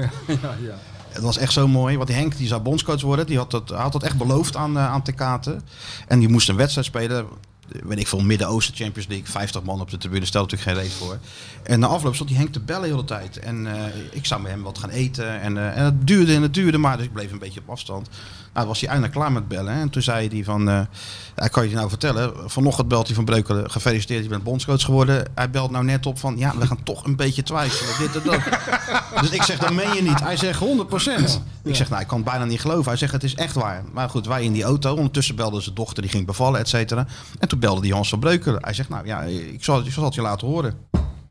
[SPEAKER 3] Het was echt zo mooi, want die Henk die zou bondscoach worden. Die had dat, had dat echt beloofd aan, eh, aan de Katen. En die moest een wedstrijd spelen. eh, Weet ik veel, Midden-Oosten Champions League. 50 man op de tribune, stelt natuurlijk geen reet voor. En na afloop zat die Henk te bellen de hele tijd. En eh, ik zou met hem wat gaan eten. En, eh, en het duurde en het duurde, maar dus ik bleef een beetje op afstand. Nou, was hij eindelijk klaar met bellen. En toen zei hij van, eh, ja, ik kan je het nou vertellen. Vanochtend belt hij van Breukelen, gefeliciteerd, je bent bondscoach geworden. Hij belt nou net op van, ja, we gaan toch een beetje twijfelen. Dit en dat. Dus ik zeg, dat meen je niet. Hij zegt 100%. Ik zeg, nou, ik kan het bijna niet geloven. Hij zegt, het is echt waar. Maar goed, wij in die auto. Ondertussen belde zijn dochter, die ging bevallen, et cetera. En toen belde die Hans van Breukelen. Hij zegt, nou ja, ik zal, ik zal het je laten horen.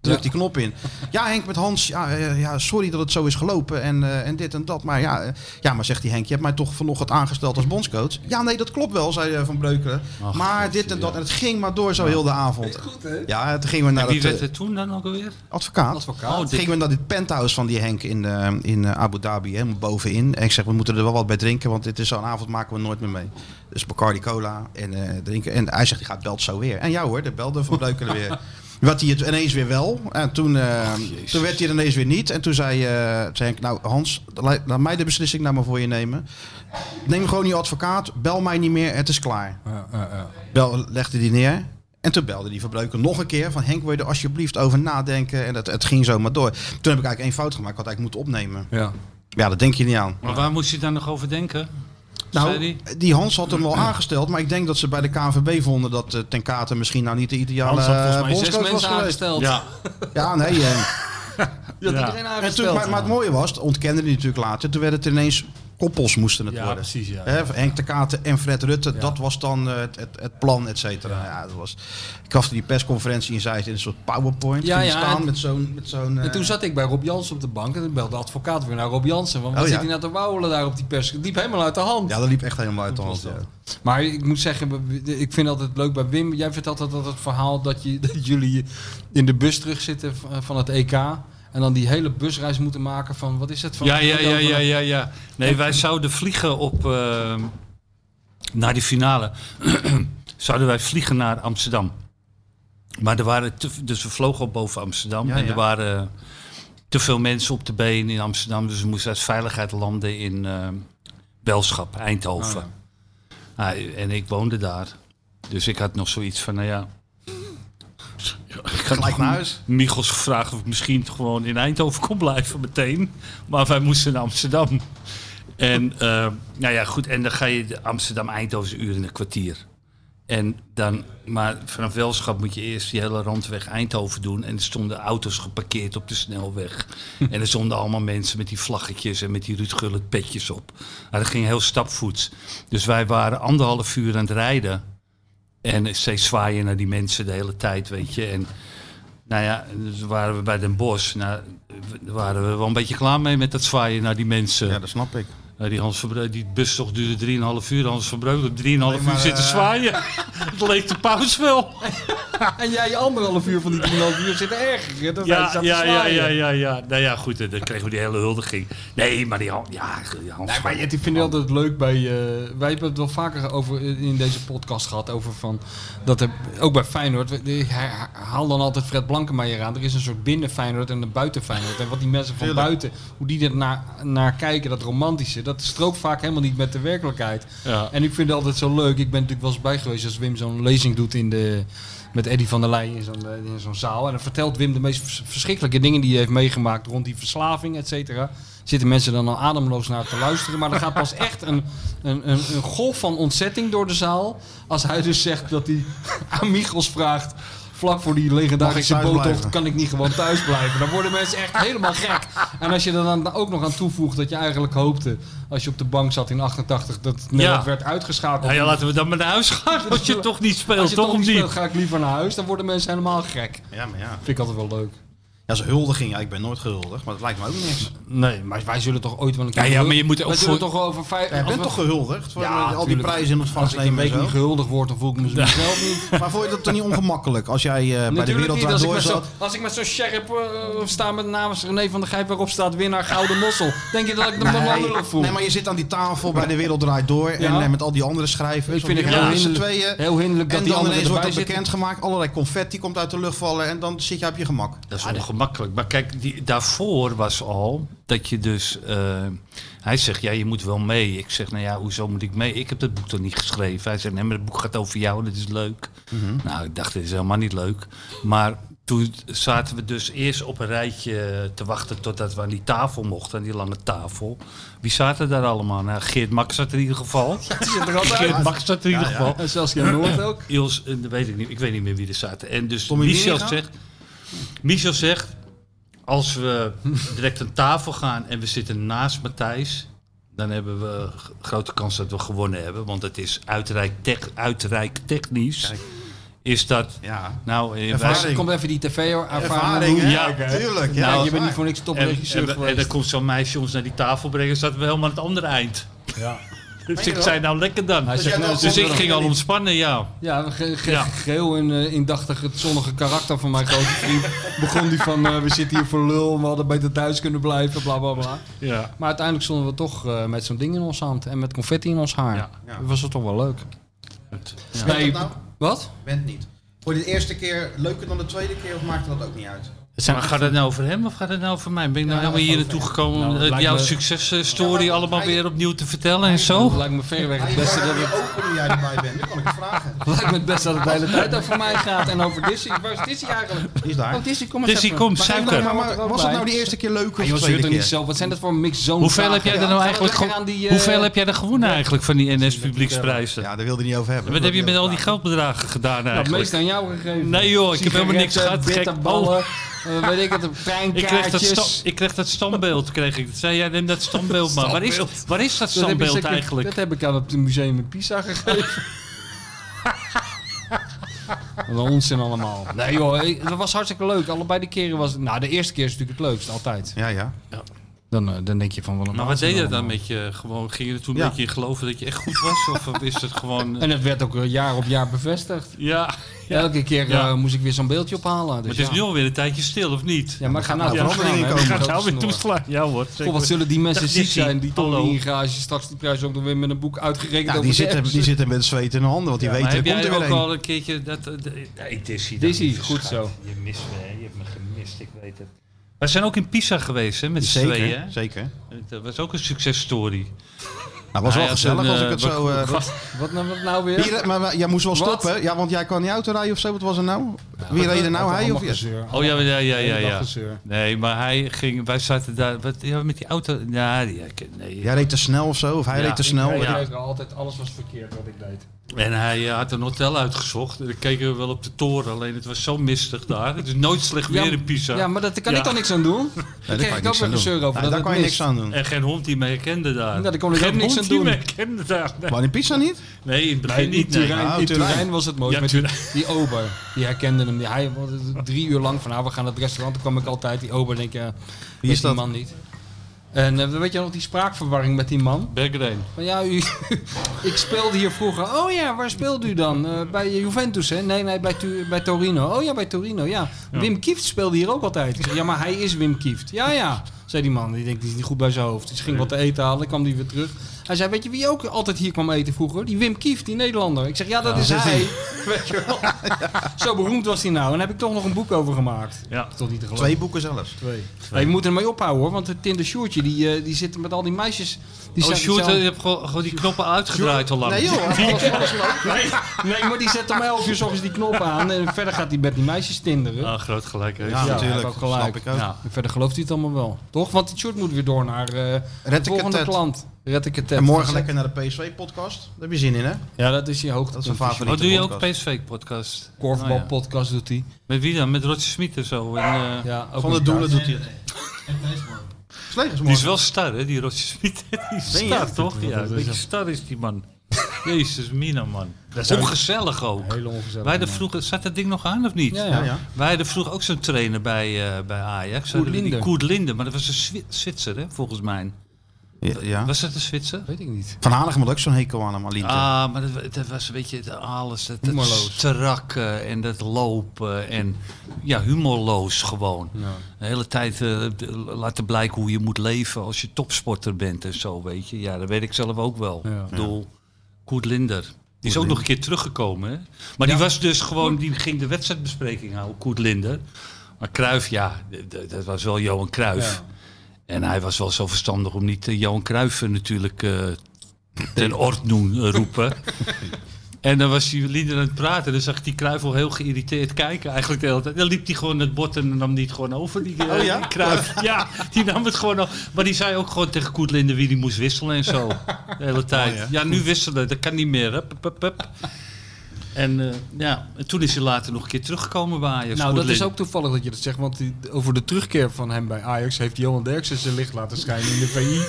[SPEAKER 3] Druk die knop in. Ja, Henk met Hans. Ja, eh, ja sorry dat het zo is gelopen. En, eh, en dit en dat. Maar ja, eh, ja, maar zegt die Henk, je hebt mij toch vanochtend aangesteld als bondscoach. Ja, nee, dat klopt wel, zei eh, Van Breukelen. maar dit en dat. En het ging maar door zo heel de avond. Ja, toen gingen we naar
[SPEAKER 4] en wie
[SPEAKER 3] dat,
[SPEAKER 4] werd
[SPEAKER 3] eh,
[SPEAKER 4] er toen dan ook alweer?
[SPEAKER 3] advocaat.
[SPEAKER 4] Oh,
[SPEAKER 3] Toen
[SPEAKER 4] dit-
[SPEAKER 3] gingen we naar dit penthouse van die Henk in, eh, in eh, Abu Dhabi, helemaal bovenin. En ik zeg, we moeten er wel wat bij drinken, want dit is zo'n avond maken we nooit meer mee. Dus Bacardi Cola en eh, drinken. En hij zegt, die gaat belt zo weer. En ja hoor, de belde van Breukelen weer. Wat hij het ineens weer wel. En toen, eh, toen werd hij er ineens weer niet. En toen zei, eh, zei Henk, nou Hans, laat laat mij de beslissing nou maar voor je nemen. Neem gewoon je advocaat, bel mij niet meer, het is klaar. Bel, legde die neer. En toen belde die verbruiker nog een keer van Henk, wil je er alsjeblieft over nadenken? En het, het ging zo maar door. Toen heb ik eigenlijk één fout gemaakt, ik had eigenlijk moeten opnemen.
[SPEAKER 2] Ja.
[SPEAKER 3] Ja, dat denk je niet aan.
[SPEAKER 4] Maar waar moest je dan nog over denken?
[SPEAKER 3] Nou,
[SPEAKER 4] Zei die?
[SPEAKER 3] die Hans had hem wel aangesteld, maar ik denk dat ze bij de KNVB vonden dat eh, Ten Katen misschien nou niet de ideale
[SPEAKER 5] Hans had volgens
[SPEAKER 3] eh,
[SPEAKER 5] mij
[SPEAKER 2] Zes
[SPEAKER 3] bondscoach was
[SPEAKER 2] mensen
[SPEAKER 3] geweest.
[SPEAKER 2] aangesteld.
[SPEAKER 4] Ja,
[SPEAKER 3] Ja, nee. eh,
[SPEAKER 2] Je had
[SPEAKER 5] Ja.
[SPEAKER 2] iedereen
[SPEAKER 3] en toen,
[SPEAKER 2] aangesteld.
[SPEAKER 3] maar, maar het mooie was, het ontkende hij natuurlijk later, toen werden het ineens koppels moesten het
[SPEAKER 5] Ja,
[SPEAKER 3] worden.
[SPEAKER 5] precies, ja.
[SPEAKER 3] Hè, Henk de Katen en Fred Rutte, dat was dan eh, het, het, het plan, et cetera. Ja. dat was, ik gaf die persconferentie en zei het in een soort powerpoint.
[SPEAKER 2] Ja,
[SPEAKER 3] Ja,
[SPEAKER 2] ja,
[SPEAKER 3] staan
[SPEAKER 2] en-
[SPEAKER 3] met zo'n... Met zo'n eh,
[SPEAKER 2] En toen zat ik bij Rob Jansen op de bank en dan belde de advocaat weer naar Rob Jansen. Want wat
[SPEAKER 3] Oh, ja.
[SPEAKER 2] zit hij nou te wauwelen daar op die pers? Het liep helemaal uit de hand.
[SPEAKER 3] ja, dat liep echt helemaal uit de hand. ja.
[SPEAKER 2] Maar ik moet zeggen, ik vind altijd leuk bij Wim. Jij vertelt altijd dat het verhaal dat, je, dat jullie in de bus terugzitten van het EK. En dan die hele busreis moeten maken van, wat is het? Van
[SPEAKER 4] Ja, ja, ja,
[SPEAKER 2] Eindhoven
[SPEAKER 4] ja,
[SPEAKER 2] naar-
[SPEAKER 4] ja, ja. Nee, wij zouden vliegen op. eh, naar die finale. zouden wij vliegen naar Amsterdam. Maar er waren. Te, dus we vlogen op boven Amsterdam.
[SPEAKER 3] Ja,
[SPEAKER 4] en er
[SPEAKER 3] ja.
[SPEAKER 4] waren te veel mensen op de been in Amsterdam. Dus we moesten uit veiligheid landen in. eh, Belschap, Eindhoven.
[SPEAKER 3] Oh,
[SPEAKER 4] Ah, en ik woonde daar. Dus ik had nog zoiets van, nou ja. Ik had
[SPEAKER 3] Gelijk
[SPEAKER 4] nog
[SPEAKER 3] naar huis.
[SPEAKER 4] Michels gevraagd of ik misschien gewoon in Eindhoven kon blijven meteen. Maar wij moesten naar Amsterdam. En eh, nou ja, goed. En dan ga je de Amsterdam-Eindhovense uur in een kwartier. En dan, maar vanaf Welschap moet je eerst die hele randweg Eindhoven doen. En er stonden auto's geparkeerd op de snelweg. en er stonden allemaal mensen met die vlaggetjes en met die Ruud Gullit petjes op. Maar dat ging heel stapvoets. Dus wij waren anderhalf uur aan het rijden. En steeds zwaaien naar die mensen de hele tijd, weet je. En nou ja, dus waren we bij Den Bosch. Nou, we- waren we wel een beetje klaar mee met dat zwaaien naar die mensen.
[SPEAKER 3] Ja, dat snap ik.
[SPEAKER 4] Nou, die, Hans Verbreu- die bustocht duurde 3,5 uur. Hans Verbreuken op 3,5 uur
[SPEAKER 3] maar,
[SPEAKER 4] zitten
[SPEAKER 3] eh,
[SPEAKER 4] zwaaien. Het leek de paus wel.
[SPEAKER 2] En jij anderhalf uur van die 3,5 uur zitten erger. Dan wij
[SPEAKER 4] Ja,
[SPEAKER 2] zaten
[SPEAKER 4] ja, ja,
[SPEAKER 2] zwaaien.
[SPEAKER 4] ja, ja, ja. Nou ja, goed, eh, dan kregen we die hele huldiging. Nee, maar die Han- ja, die Hans...
[SPEAKER 2] Nee, maar het- ik vind het altijd leuk bij. eh, wij hebben het wel vaker over in deze podcast gehad. Over van. Dat er, ook bij Feyenoord. we- Ik her- haal dan altijd Fred Blankenmeijer aan. Er is een soort binnen Feyenoord en een buiten Feyenoord. En wat die mensen van buiten. Hoe die er naar, naar kijken. Dat romantische. Dat strookt vaak helemaal niet met de werkelijkheid.
[SPEAKER 4] Ja.
[SPEAKER 2] En ik vind het altijd zo leuk. Ik ben natuurlijk wel eens bij geweest als Wim zo'n lezing doet in de, met Eddy van der Leij in zo'n, eh, in zo'n zaal. En dan vertelt Wim de meest vers- verschrikkelijke dingen die hij heeft meegemaakt rond die verslaving, et cetera. Zitten mensen dan al ademloos naar te luisteren. Maar er gaat pas echt een, een, een, een golf van ontzetting door de zaal. Als hij dus zegt dat hij aan Michels vraagt. Vlak voor die legendarische
[SPEAKER 3] Mag ik thuis
[SPEAKER 2] boottocht
[SPEAKER 3] blijven?
[SPEAKER 2] kan ik niet gewoon thuis blijven. Dan worden mensen echt helemaal gek. En als je er dan ook nog aan toevoegt dat je eigenlijk hoopte... als je op de bank zat in 88 dat Nederland
[SPEAKER 4] Ja.
[SPEAKER 2] werd uitgeschakeld.
[SPEAKER 4] Nou ja, laten we dan maar naar huis gaan. Als je toch niet speelt,
[SPEAKER 2] Als je
[SPEAKER 4] toch,
[SPEAKER 2] toch niet
[SPEAKER 4] of niet?
[SPEAKER 2] speelt, ga ik liever naar huis. Dan worden mensen helemaal gek.
[SPEAKER 3] Ja, maar ja.
[SPEAKER 2] Vind ik altijd wel leuk.
[SPEAKER 3] Ja, zo'n huldiging. Ja, ik ben nooit gehuldigd, maar dat lijkt me ook niks.
[SPEAKER 2] Nee, maar wij zullen toch ooit wel een keer...
[SPEAKER 4] Ja, ja, maar je moet
[SPEAKER 2] Wij
[SPEAKER 4] ook
[SPEAKER 2] zullen
[SPEAKER 4] voor-
[SPEAKER 2] toch wel over vijf...
[SPEAKER 3] Ik
[SPEAKER 2] als
[SPEAKER 3] ben
[SPEAKER 2] we-
[SPEAKER 3] toch gehuldigd? Voor
[SPEAKER 2] Ja,
[SPEAKER 3] al die
[SPEAKER 2] tuurlijk.
[SPEAKER 3] prijzen in
[SPEAKER 2] Als
[SPEAKER 3] ontvangst
[SPEAKER 2] ik een
[SPEAKER 3] nemen en
[SPEAKER 2] week
[SPEAKER 3] zo.
[SPEAKER 2] niet gehuldigd word, dan voel ik me mezelf niet.
[SPEAKER 3] Maar vond je dat toch niet ongemakkelijk als jij eh, bij de
[SPEAKER 2] Natuurlijk
[SPEAKER 3] wereld
[SPEAKER 2] niet, als ik,
[SPEAKER 3] door
[SPEAKER 2] met zo,
[SPEAKER 3] zat?
[SPEAKER 2] als ik met zo'n sheriff eh, sta met namens René van der Gijp waarop staat winnaar Gouden Mossel. Denk je dat ik me dan wel lullig voel?
[SPEAKER 3] nee, maar je zit aan die tafel bij de wereld draait door en
[SPEAKER 2] Ja.
[SPEAKER 3] eh, met al die andere schrijvers.
[SPEAKER 2] Ik vind het
[SPEAKER 3] Om die
[SPEAKER 2] heel
[SPEAKER 3] met z'n
[SPEAKER 2] hinderlijk-
[SPEAKER 3] tweeën.
[SPEAKER 2] heel hinderlijk dat
[SPEAKER 3] En
[SPEAKER 2] die
[SPEAKER 3] dan
[SPEAKER 2] anderen
[SPEAKER 3] ineens wordt
[SPEAKER 2] erbij
[SPEAKER 3] dat
[SPEAKER 2] zitten.
[SPEAKER 3] bekendgemaakt, allerlei confetti komt uit de lucht vallen en dan zit je op je gemak.
[SPEAKER 4] Dat
[SPEAKER 2] Ah,
[SPEAKER 4] is ongemakkelijk. Maar kijk, die, daarvoor was al dat je dus... eh, hij zegt, ja, je moet wel mee. Ik zeg, nou ja, hoezo moet ik mee? Ik heb dat boek toch niet geschreven? Hij zegt, nee, maar het boek gaat over jou, dat is leuk.
[SPEAKER 2] Mhm.
[SPEAKER 4] Nou, ik dacht, dit is helemaal niet leuk. Maar toen zaten we dus eerst op een rijtje te wachten totdat we aan die tafel mochten, aan die lange tafel. Wie zaten daar allemaal? Nou, Geert Max zat er in ieder geval.
[SPEAKER 2] zit er altijd
[SPEAKER 4] Geert Max zat er in ieder geval.
[SPEAKER 2] En zelfs in Noord ook.
[SPEAKER 4] Iels, eh, dat weet ik niet. Ik weet niet meer wie er zaten. En dus
[SPEAKER 3] Tommy
[SPEAKER 4] Michel
[SPEAKER 3] Wieringa?
[SPEAKER 4] zegt, Michel zegt, als we direct aan tafel gaan en we zitten naast Matthijs, dan hebben we g- grote kans dat we gewonnen hebben, want het is uitrijk, tech, uitrijk technisch.
[SPEAKER 3] Kijk.
[SPEAKER 4] Is dat?
[SPEAKER 3] Ja.
[SPEAKER 4] Nou, eh, wij-
[SPEAKER 3] Ervaring.
[SPEAKER 2] Komt even die tv-ervaring.
[SPEAKER 3] Ervaring,
[SPEAKER 2] doen.
[SPEAKER 3] hè?
[SPEAKER 4] Ja,
[SPEAKER 3] Ja, tuurlijk. Ja,
[SPEAKER 2] Ja, Nou,
[SPEAKER 3] dat
[SPEAKER 2] je
[SPEAKER 3] is
[SPEAKER 2] bent niet
[SPEAKER 3] waar.
[SPEAKER 2] voor niks
[SPEAKER 4] en,
[SPEAKER 2] topregisseur
[SPEAKER 4] en, en dan
[SPEAKER 2] geweest.
[SPEAKER 4] komt zo'n meisje ons naar die tafel brengen, zaten we helemaal aan het andere eind. Ja. Dus ik zei, nou lekker dan.
[SPEAKER 2] Hij zegt,
[SPEAKER 3] jij
[SPEAKER 2] nou,
[SPEAKER 3] toch
[SPEAKER 4] dus
[SPEAKER 2] zonder
[SPEAKER 4] ik ging al ontspannen, ja.
[SPEAKER 2] Ja, ge- ge-
[SPEAKER 4] Ja.
[SPEAKER 2] geheel in, eh, indachtig het zonnige karakter van mijn grote vriend. Begon die van, eh, we zitten hier voor lul, we hadden beter thuis kunnen blijven, bla bla bla.
[SPEAKER 4] ja.
[SPEAKER 2] Maar uiteindelijk stonden we toch eh, met zo'n ding in ons hand en met confetti in ons haar.
[SPEAKER 4] Ja.
[SPEAKER 3] Ja.
[SPEAKER 2] Dat was het toch wel leuk.
[SPEAKER 3] Weet je dat nou?
[SPEAKER 2] Wat?
[SPEAKER 3] Bent niet. Voor de eerste keer leuker dan de tweede keer of maakte dat ook niet uit?
[SPEAKER 4] Maar gaat het nou over hem of gaat het nou over mij? Ben ik nou
[SPEAKER 3] Ja,
[SPEAKER 4] helemaal
[SPEAKER 3] dat
[SPEAKER 4] hier
[SPEAKER 3] gaat
[SPEAKER 4] naartoe gekomen
[SPEAKER 2] Nou,
[SPEAKER 4] om
[SPEAKER 2] dat
[SPEAKER 4] eh,
[SPEAKER 2] lijkt
[SPEAKER 4] jouw
[SPEAKER 2] me-
[SPEAKER 4] successtory
[SPEAKER 3] Ja, maar
[SPEAKER 4] allemaal
[SPEAKER 3] hij-
[SPEAKER 4] weer opnieuw te vertellen en
[SPEAKER 2] Het
[SPEAKER 4] zo?
[SPEAKER 2] lijkt me verreweg het
[SPEAKER 3] Hij
[SPEAKER 2] beste
[SPEAKER 3] beste
[SPEAKER 2] dat
[SPEAKER 3] dat
[SPEAKER 2] het,
[SPEAKER 3] open hoe jij erbij bent, dan kan ik het vragen.
[SPEAKER 2] lijkt me het beste dat het de hele tijd over mij gaat en over Dizzy. Waar is Dizzy eigenlijk?
[SPEAKER 3] Die is daar.
[SPEAKER 2] Oh, Dizzy, kom eens
[SPEAKER 4] Dus die
[SPEAKER 2] even.
[SPEAKER 4] komt
[SPEAKER 3] Maar, maar,
[SPEAKER 4] suiker.
[SPEAKER 3] maar, maar was het nou de eerste keer leuk
[SPEAKER 2] Ah,
[SPEAKER 3] of de
[SPEAKER 2] joh, zeur
[SPEAKER 3] tweede
[SPEAKER 2] toch niet
[SPEAKER 3] keer?
[SPEAKER 2] zelf. Wat zijn dat voor mix zo'n
[SPEAKER 4] Hoeveel heb
[SPEAKER 2] vragen?
[SPEAKER 4] jij er nou
[SPEAKER 2] Ja,
[SPEAKER 4] eigenlijk
[SPEAKER 2] ga lekker
[SPEAKER 4] ge-
[SPEAKER 2] aan die, eh,
[SPEAKER 4] Hoeveel heb jij er gewonnen eigenlijk van die NS publieksprijzen?
[SPEAKER 3] Ja, daar wilde hij niet over hebben.
[SPEAKER 4] Wat heb je met al die
[SPEAKER 3] geld?
[SPEAKER 4] geldbedragen gedaan
[SPEAKER 2] Nou, het
[SPEAKER 4] eigenlijk?
[SPEAKER 2] meest aan jou gegeven.
[SPEAKER 4] Nee, joh, ik heb helemaal niks
[SPEAKER 2] Sigaretten,
[SPEAKER 4] gehad, gek.
[SPEAKER 2] bitterballen, eh, weet ik het, een
[SPEAKER 4] Ik kreeg, dat sta-
[SPEAKER 2] treinkaartjes.
[SPEAKER 4] ik kreeg dat standbeeld, kreeg ik. Dat Zei jij, neem dat standbeeld maar. Waar is, waar is dat
[SPEAKER 2] heb je
[SPEAKER 4] standbeeld
[SPEAKER 2] zeker-
[SPEAKER 4] eigenlijk?
[SPEAKER 2] Dat heb ik aan het museum in Pisa gegeven. Wat een onzin allemaal. Nee joh, ik- dat was hartstikke leuk. Allebei de keren was het... Nou, de eerste keer is natuurlijk het leukst, altijd.
[SPEAKER 3] Ja, ja.
[SPEAKER 2] Dan, eh, dan denk je van wel een
[SPEAKER 4] Maar wat
[SPEAKER 2] waanzin
[SPEAKER 4] deed je dan
[SPEAKER 2] allemaal.
[SPEAKER 4] met je? Gewoon, ging je er toen een
[SPEAKER 3] Ja.
[SPEAKER 4] beetje in geloven dat je echt goed was? Of is het gewoon... eh,
[SPEAKER 2] En het werd ook eh, jaar op jaar bevestigd.
[SPEAKER 4] ja,
[SPEAKER 2] Elke keer
[SPEAKER 4] Ja.
[SPEAKER 2] eh, moest ik weer zo'n beeldje ophalen. Dus
[SPEAKER 4] maar het is
[SPEAKER 2] ja.
[SPEAKER 4] nu alweer een tijdje stil, of niet?
[SPEAKER 2] Ja, maar ik ga nou
[SPEAKER 3] Ja,
[SPEAKER 2] toch
[SPEAKER 3] veranderingen
[SPEAKER 2] gaan, hè,
[SPEAKER 3] komen.
[SPEAKER 2] met
[SPEAKER 5] Gaat
[SPEAKER 2] grote
[SPEAKER 5] nou weer
[SPEAKER 2] snor.
[SPEAKER 5] toeslaan. Ja hoor.
[SPEAKER 2] Goh, wat zullen die mensen ziek
[SPEAKER 5] Technici,
[SPEAKER 2] zijn die
[SPEAKER 5] hallo.
[SPEAKER 2] Tony in garage straks de prijs ook nog weer met een boek uitgerekend
[SPEAKER 3] Ja,
[SPEAKER 2] over
[SPEAKER 3] Nou, die,
[SPEAKER 2] de
[SPEAKER 3] zitten,
[SPEAKER 2] apps.
[SPEAKER 3] die zitten met zweet in de handen, want die
[SPEAKER 4] Maar
[SPEAKER 3] weten,
[SPEAKER 4] heb
[SPEAKER 3] er komt
[SPEAKER 4] jij
[SPEAKER 3] er
[SPEAKER 4] ook
[SPEAKER 3] weer een.
[SPEAKER 4] al een keerje dat... eh, de- nee, Dizzy. dat
[SPEAKER 2] Dizzy,
[SPEAKER 4] niet
[SPEAKER 2] goed
[SPEAKER 4] verschuift.
[SPEAKER 2] zo.
[SPEAKER 4] Je mist me, hè. Je hebt me gemist, ik weet het. We zijn ook in Pisa geweest, hè, met z'n tweeën.
[SPEAKER 3] Zeker,
[SPEAKER 4] hè?
[SPEAKER 3] zeker.
[SPEAKER 4] Dat was ook een successtory.
[SPEAKER 3] Nou, was
[SPEAKER 4] Hij
[SPEAKER 3] wel
[SPEAKER 4] had
[SPEAKER 3] gezellig
[SPEAKER 4] een,
[SPEAKER 3] als
[SPEAKER 4] eh,
[SPEAKER 3] ik het
[SPEAKER 4] wat-
[SPEAKER 3] zo... eh,
[SPEAKER 2] Wat nou, wat nou weer?
[SPEAKER 3] Hier, maar, maar jij moest wel
[SPEAKER 2] Wat?
[SPEAKER 3] stoppen. Ja, want jij kan niet auto rijden of zo. Wat was er nou? Wie reed er nou? Hij of je?
[SPEAKER 4] Oh ja, ja, ja, ja.
[SPEAKER 2] Hele dag
[SPEAKER 4] ja.
[SPEAKER 2] gezeur.
[SPEAKER 4] Nee, maar hij ging... Wij zaten daar... Wat, ja, met die auto... Ja, die- ja, ik- nee.
[SPEAKER 3] Jij reed te snel of zo? Of hij
[SPEAKER 4] Ja,
[SPEAKER 3] reed te
[SPEAKER 4] ik
[SPEAKER 3] snel?
[SPEAKER 4] reed- Ja.
[SPEAKER 2] altijd, alles was verkeerd wat ik deed.
[SPEAKER 4] En hij eh, had een hotel uitgezocht. En dan keken we wel op de toren. Alleen het was zo mistig daar. Het is nooit slecht weer in Pisa.
[SPEAKER 2] Ja, maar daar kan
[SPEAKER 4] Ja.
[SPEAKER 2] ik dan niks aan doen.
[SPEAKER 3] Nee,
[SPEAKER 2] daar kreeg
[SPEAKER 3] daar kan
[SPEAKER 2] ik
[SPEAKER 3] je
[SPEAKER 2] ook
[SPEAKER 3] niks
[SPEAKER 2] weer
[SPEAKER 3] aan doen.
[SPEAKER 2] gezeur over. dat
[SPEAKER 3] Nee, daar
[SPEAKER 2] het
[SPEAKER 3] kan je
[SPEAKER 2] mist.
[SPEAKER 3] niks aan doen.
[SPEAKER 4] En geen hond die mij herkende daar.
[SPEAKER 2] Ja,
[SPEAKER 3] Nou,
[SPEAKER 2] daar kon ik ook
[SPEAKER 4] geen
[SPEAKER 2] niks aan
[SPEAKER 4] hond die
[SPEAKER 2] doen.
[SPEAKER 4] mij herkende daar. Nee,
[SPEAKER 3] Maar in Pisa niet?
[SPEAKER 4] Nee, in het begin
[SPEAKER 2] Nee, in
[SPEAKER 4] niet. nee.
[SPEAKER 2] Turijn,
[SPEAKER 3] Ah,
[SPEAKER 2] in
[SPEAKER 3] Turijn.
[SPEAKER 2] Turijn was het mooi.
[SPEAKER 4] Ja,
[SPEAKER 2] met die, die ober, die herkende hem. Die, hij was drie uur lang van, nou, we gaan naar het restaurant. Toen kwam ik altijd, die ober, denk ik, ja,
[SPEAKER 3] is
[SPEAKER 2] Wie is
[SPEAKER 3] dat?
[SPEAKER 2] die man niet. En eh, weet je nog die spraakverwarring met die man?
[SPEAKER 4] Bergrein.
[SPEAKER 2] Van ja, u, ik speelde hier vroeger. Oh ja, waar speelde u dan? Eh, bij Juventus, hè? Nee, nee, bij, Tu- bij Torino. Oh ja, bij Torino, ja. Wim Kieft speelde hier ook altijd. Ik zeg, ja, maar hij is Wim Kieft. Ja, ja, zei die man. Die denkt, die is niet goed bij zijn hoofd. Dus ging wat te eten halen, kwam die weer terug. Hij zei, weet je wie ook altijd hier kwam eten vroeger? Die Wim Kieft, die Nederlander. Ik zeg, ja, dat is hij. Weet je wel. Zo beroemd was hij nou. En daar heb ik toch nog een boek over gemaakt.
[SPEAKER 4] Ja.
[SPEAKER 2] Tot niet te geloven.
[SPEAKER 3] Twee boeken zelfs.
[SPEAKER 2] Hey, je moet ermee ophouden hoor, want het Tinder Sjoertje, die, eh, die zit met al die meisjes. Die
[SPEAKER 4] Oh,
[SPEAKER 2] zijn-
[SPEAKER 4] Sjoerd,
[SPEAKER 2] zijn-
[SPEAKER 4] je hebt gewoon, gewoon die knoppen uitgedraaid al lang.
[SPEAKER 3] Nee joh, alles, alles loopt.
[SPEAKER 2] Nee, maar die zet om 11 uur 's ochtends die knop aan en verder gaat hij met die meisjes tinderen.
[SPEAKER 4] Ah, groot gelijk. hè.
[SPEAKER 3] Ja,
[SPEAKER 2] Ja,
[SPEAKER 3] natuurlijk.
[SPEAKER 2] heb ik ook gelijk.
[SPEAKER 3] Snap ik ook.
[SPEAKER 4] Ja.
[SPEAKER 2] En verder gelooft hij het allemaal wel, toch? Want die short moet weer door naar eh de
[SPEAKER 3] Red ik het
[SPEAKER 2] volgende
[SPEAKER 3] tet.
[SPEAKER 2] klant. Red ik het tet.
[SPEAKER 3] En morgen lekker naar de PSV-podcast. Daar heb je zin in, hè?
[SPEAKER 2] Ja, dat is je hoogte.
[SPEAKER 3] Dat is een favoriete
[SPEAKER 4] Oh, doe je ook
[SPEAKER 3] podcast.
[SPEAKER 4] PSV-podcast?
[SPEAKER 2] Korfbalpodcast doet hij.
[SPEAKER 4] Nou Met wie dan? Met Roger Smit en zo. En, eh,
[SPEAKER 2] Ja, ook
[SPEAKER 3] Van de
[SPEAKER 2] een-
[SPEAKER 3] doelen doet hij het. Slegers
[SPEAKER 4] Die is
[SPEAKER 3] morgen.
[SPEAKER 4] wel star, hè, die Roger Smit. Die is
[SPEAKER 2] je?
[SPEAKER 4] star, toch? Ja,
[SPEAKER 2] Dat
[SPEAKER 4] een
[SPEAKER 2] is
[SPEAKER 4] beetje
[SPEAKER 2] een-
[SPEAKER 4] star is die man. Jezus, Mina, man.
[SPEAKER 2] Dat is
[SPEAKER 4] Ongezellig ook.
[SPEAKER 2] Hele ongezellig.
[SPEAKER 4] Wij de
[SPEAKER 2] man.
[SPEAKER 4] vroeger, zat dat ding nog aan of niet?
[SPEAKER 2] Ja,
[SPEAKER 3] Ja,
[SPEAKER 2] ja.
[SPEAKER 3] ja.
[SPEAKER 4] Wij hadden vroeger ook zo'n trainer bij, eh, bij Ajax. Hadden we die
[SPEAKER 2] Linde.
[SPEAKER 4] Koert Linde, maar dat was een Zwi- Zwitser, hè, volgens mij.
[SPEAKER 3] ja, ja.
[SPEAKER 4] Was dat een Zwitser?
[SPEAKER 2] Weet ik niet.
[SPEAKER 3] Van Hanegem had ook zo'n hekel aan hem, Aline.
[SPEAKER 4] Ah, maar dat, wa- dat was een beetje de- alles. Dat, dat
[SPEAKER 2] Humorloos.
[SPEAKER 4] strakken en dat lopen. En ja, humorloos gewoon.
[SPEAKER 2] Ja.
[SPEAKER 4] De hele tijd eh, de- laten blijken hoe je moet leven als je topsporter bent en zo, weet je. Ja, dat weet ik zelf ook wel.
[SPEAKER 2] Ja.
[SPEAKER 4] Ik bedoel, Koert Linder. Die is ook nog een keer teruggekomen, hè? Maar die was dus gewoon, die ging de wedstrijdbespreking houden, Koert Linder. Maar Kruif, ja, d- d- dat was wel Johan Kruif. En hij was wel zo verstandig om niet eh, Johan Cruijff eh, natuurlijk eh, ten ort doen eh, roepen. en dan was die Linder aan het praten. Dan zag ik die Cruijff al heel geïrriteerd kijken eigenlijk de hele tijd. Dan liep hij gewoon het bord en nam die het gewoon over, die, eh, die Cruijff. Ja, die nam het gewoon over. Maar die zei ook gewoon tegen Koet Linder wie die moest wisselen en zo. De hele tijd. ja. nu wisselen, dat kan niet meer. Hup, hup, hup, hup. En eh, ja, en toen is hij later nog een keer teruggekomen bij Ajax.
[SPEAKER 2] Nou,
[SPEAKER 4] Koet
[SPEAKER 2] dat is
[SPEAKER 4] Linder.
[SPEAKER 2] ook toevallig dat je dat zegt, want die- over de terugkeer van hem bij Ajax heeft Johan Derksen zijn licht laten schijnen in de VI.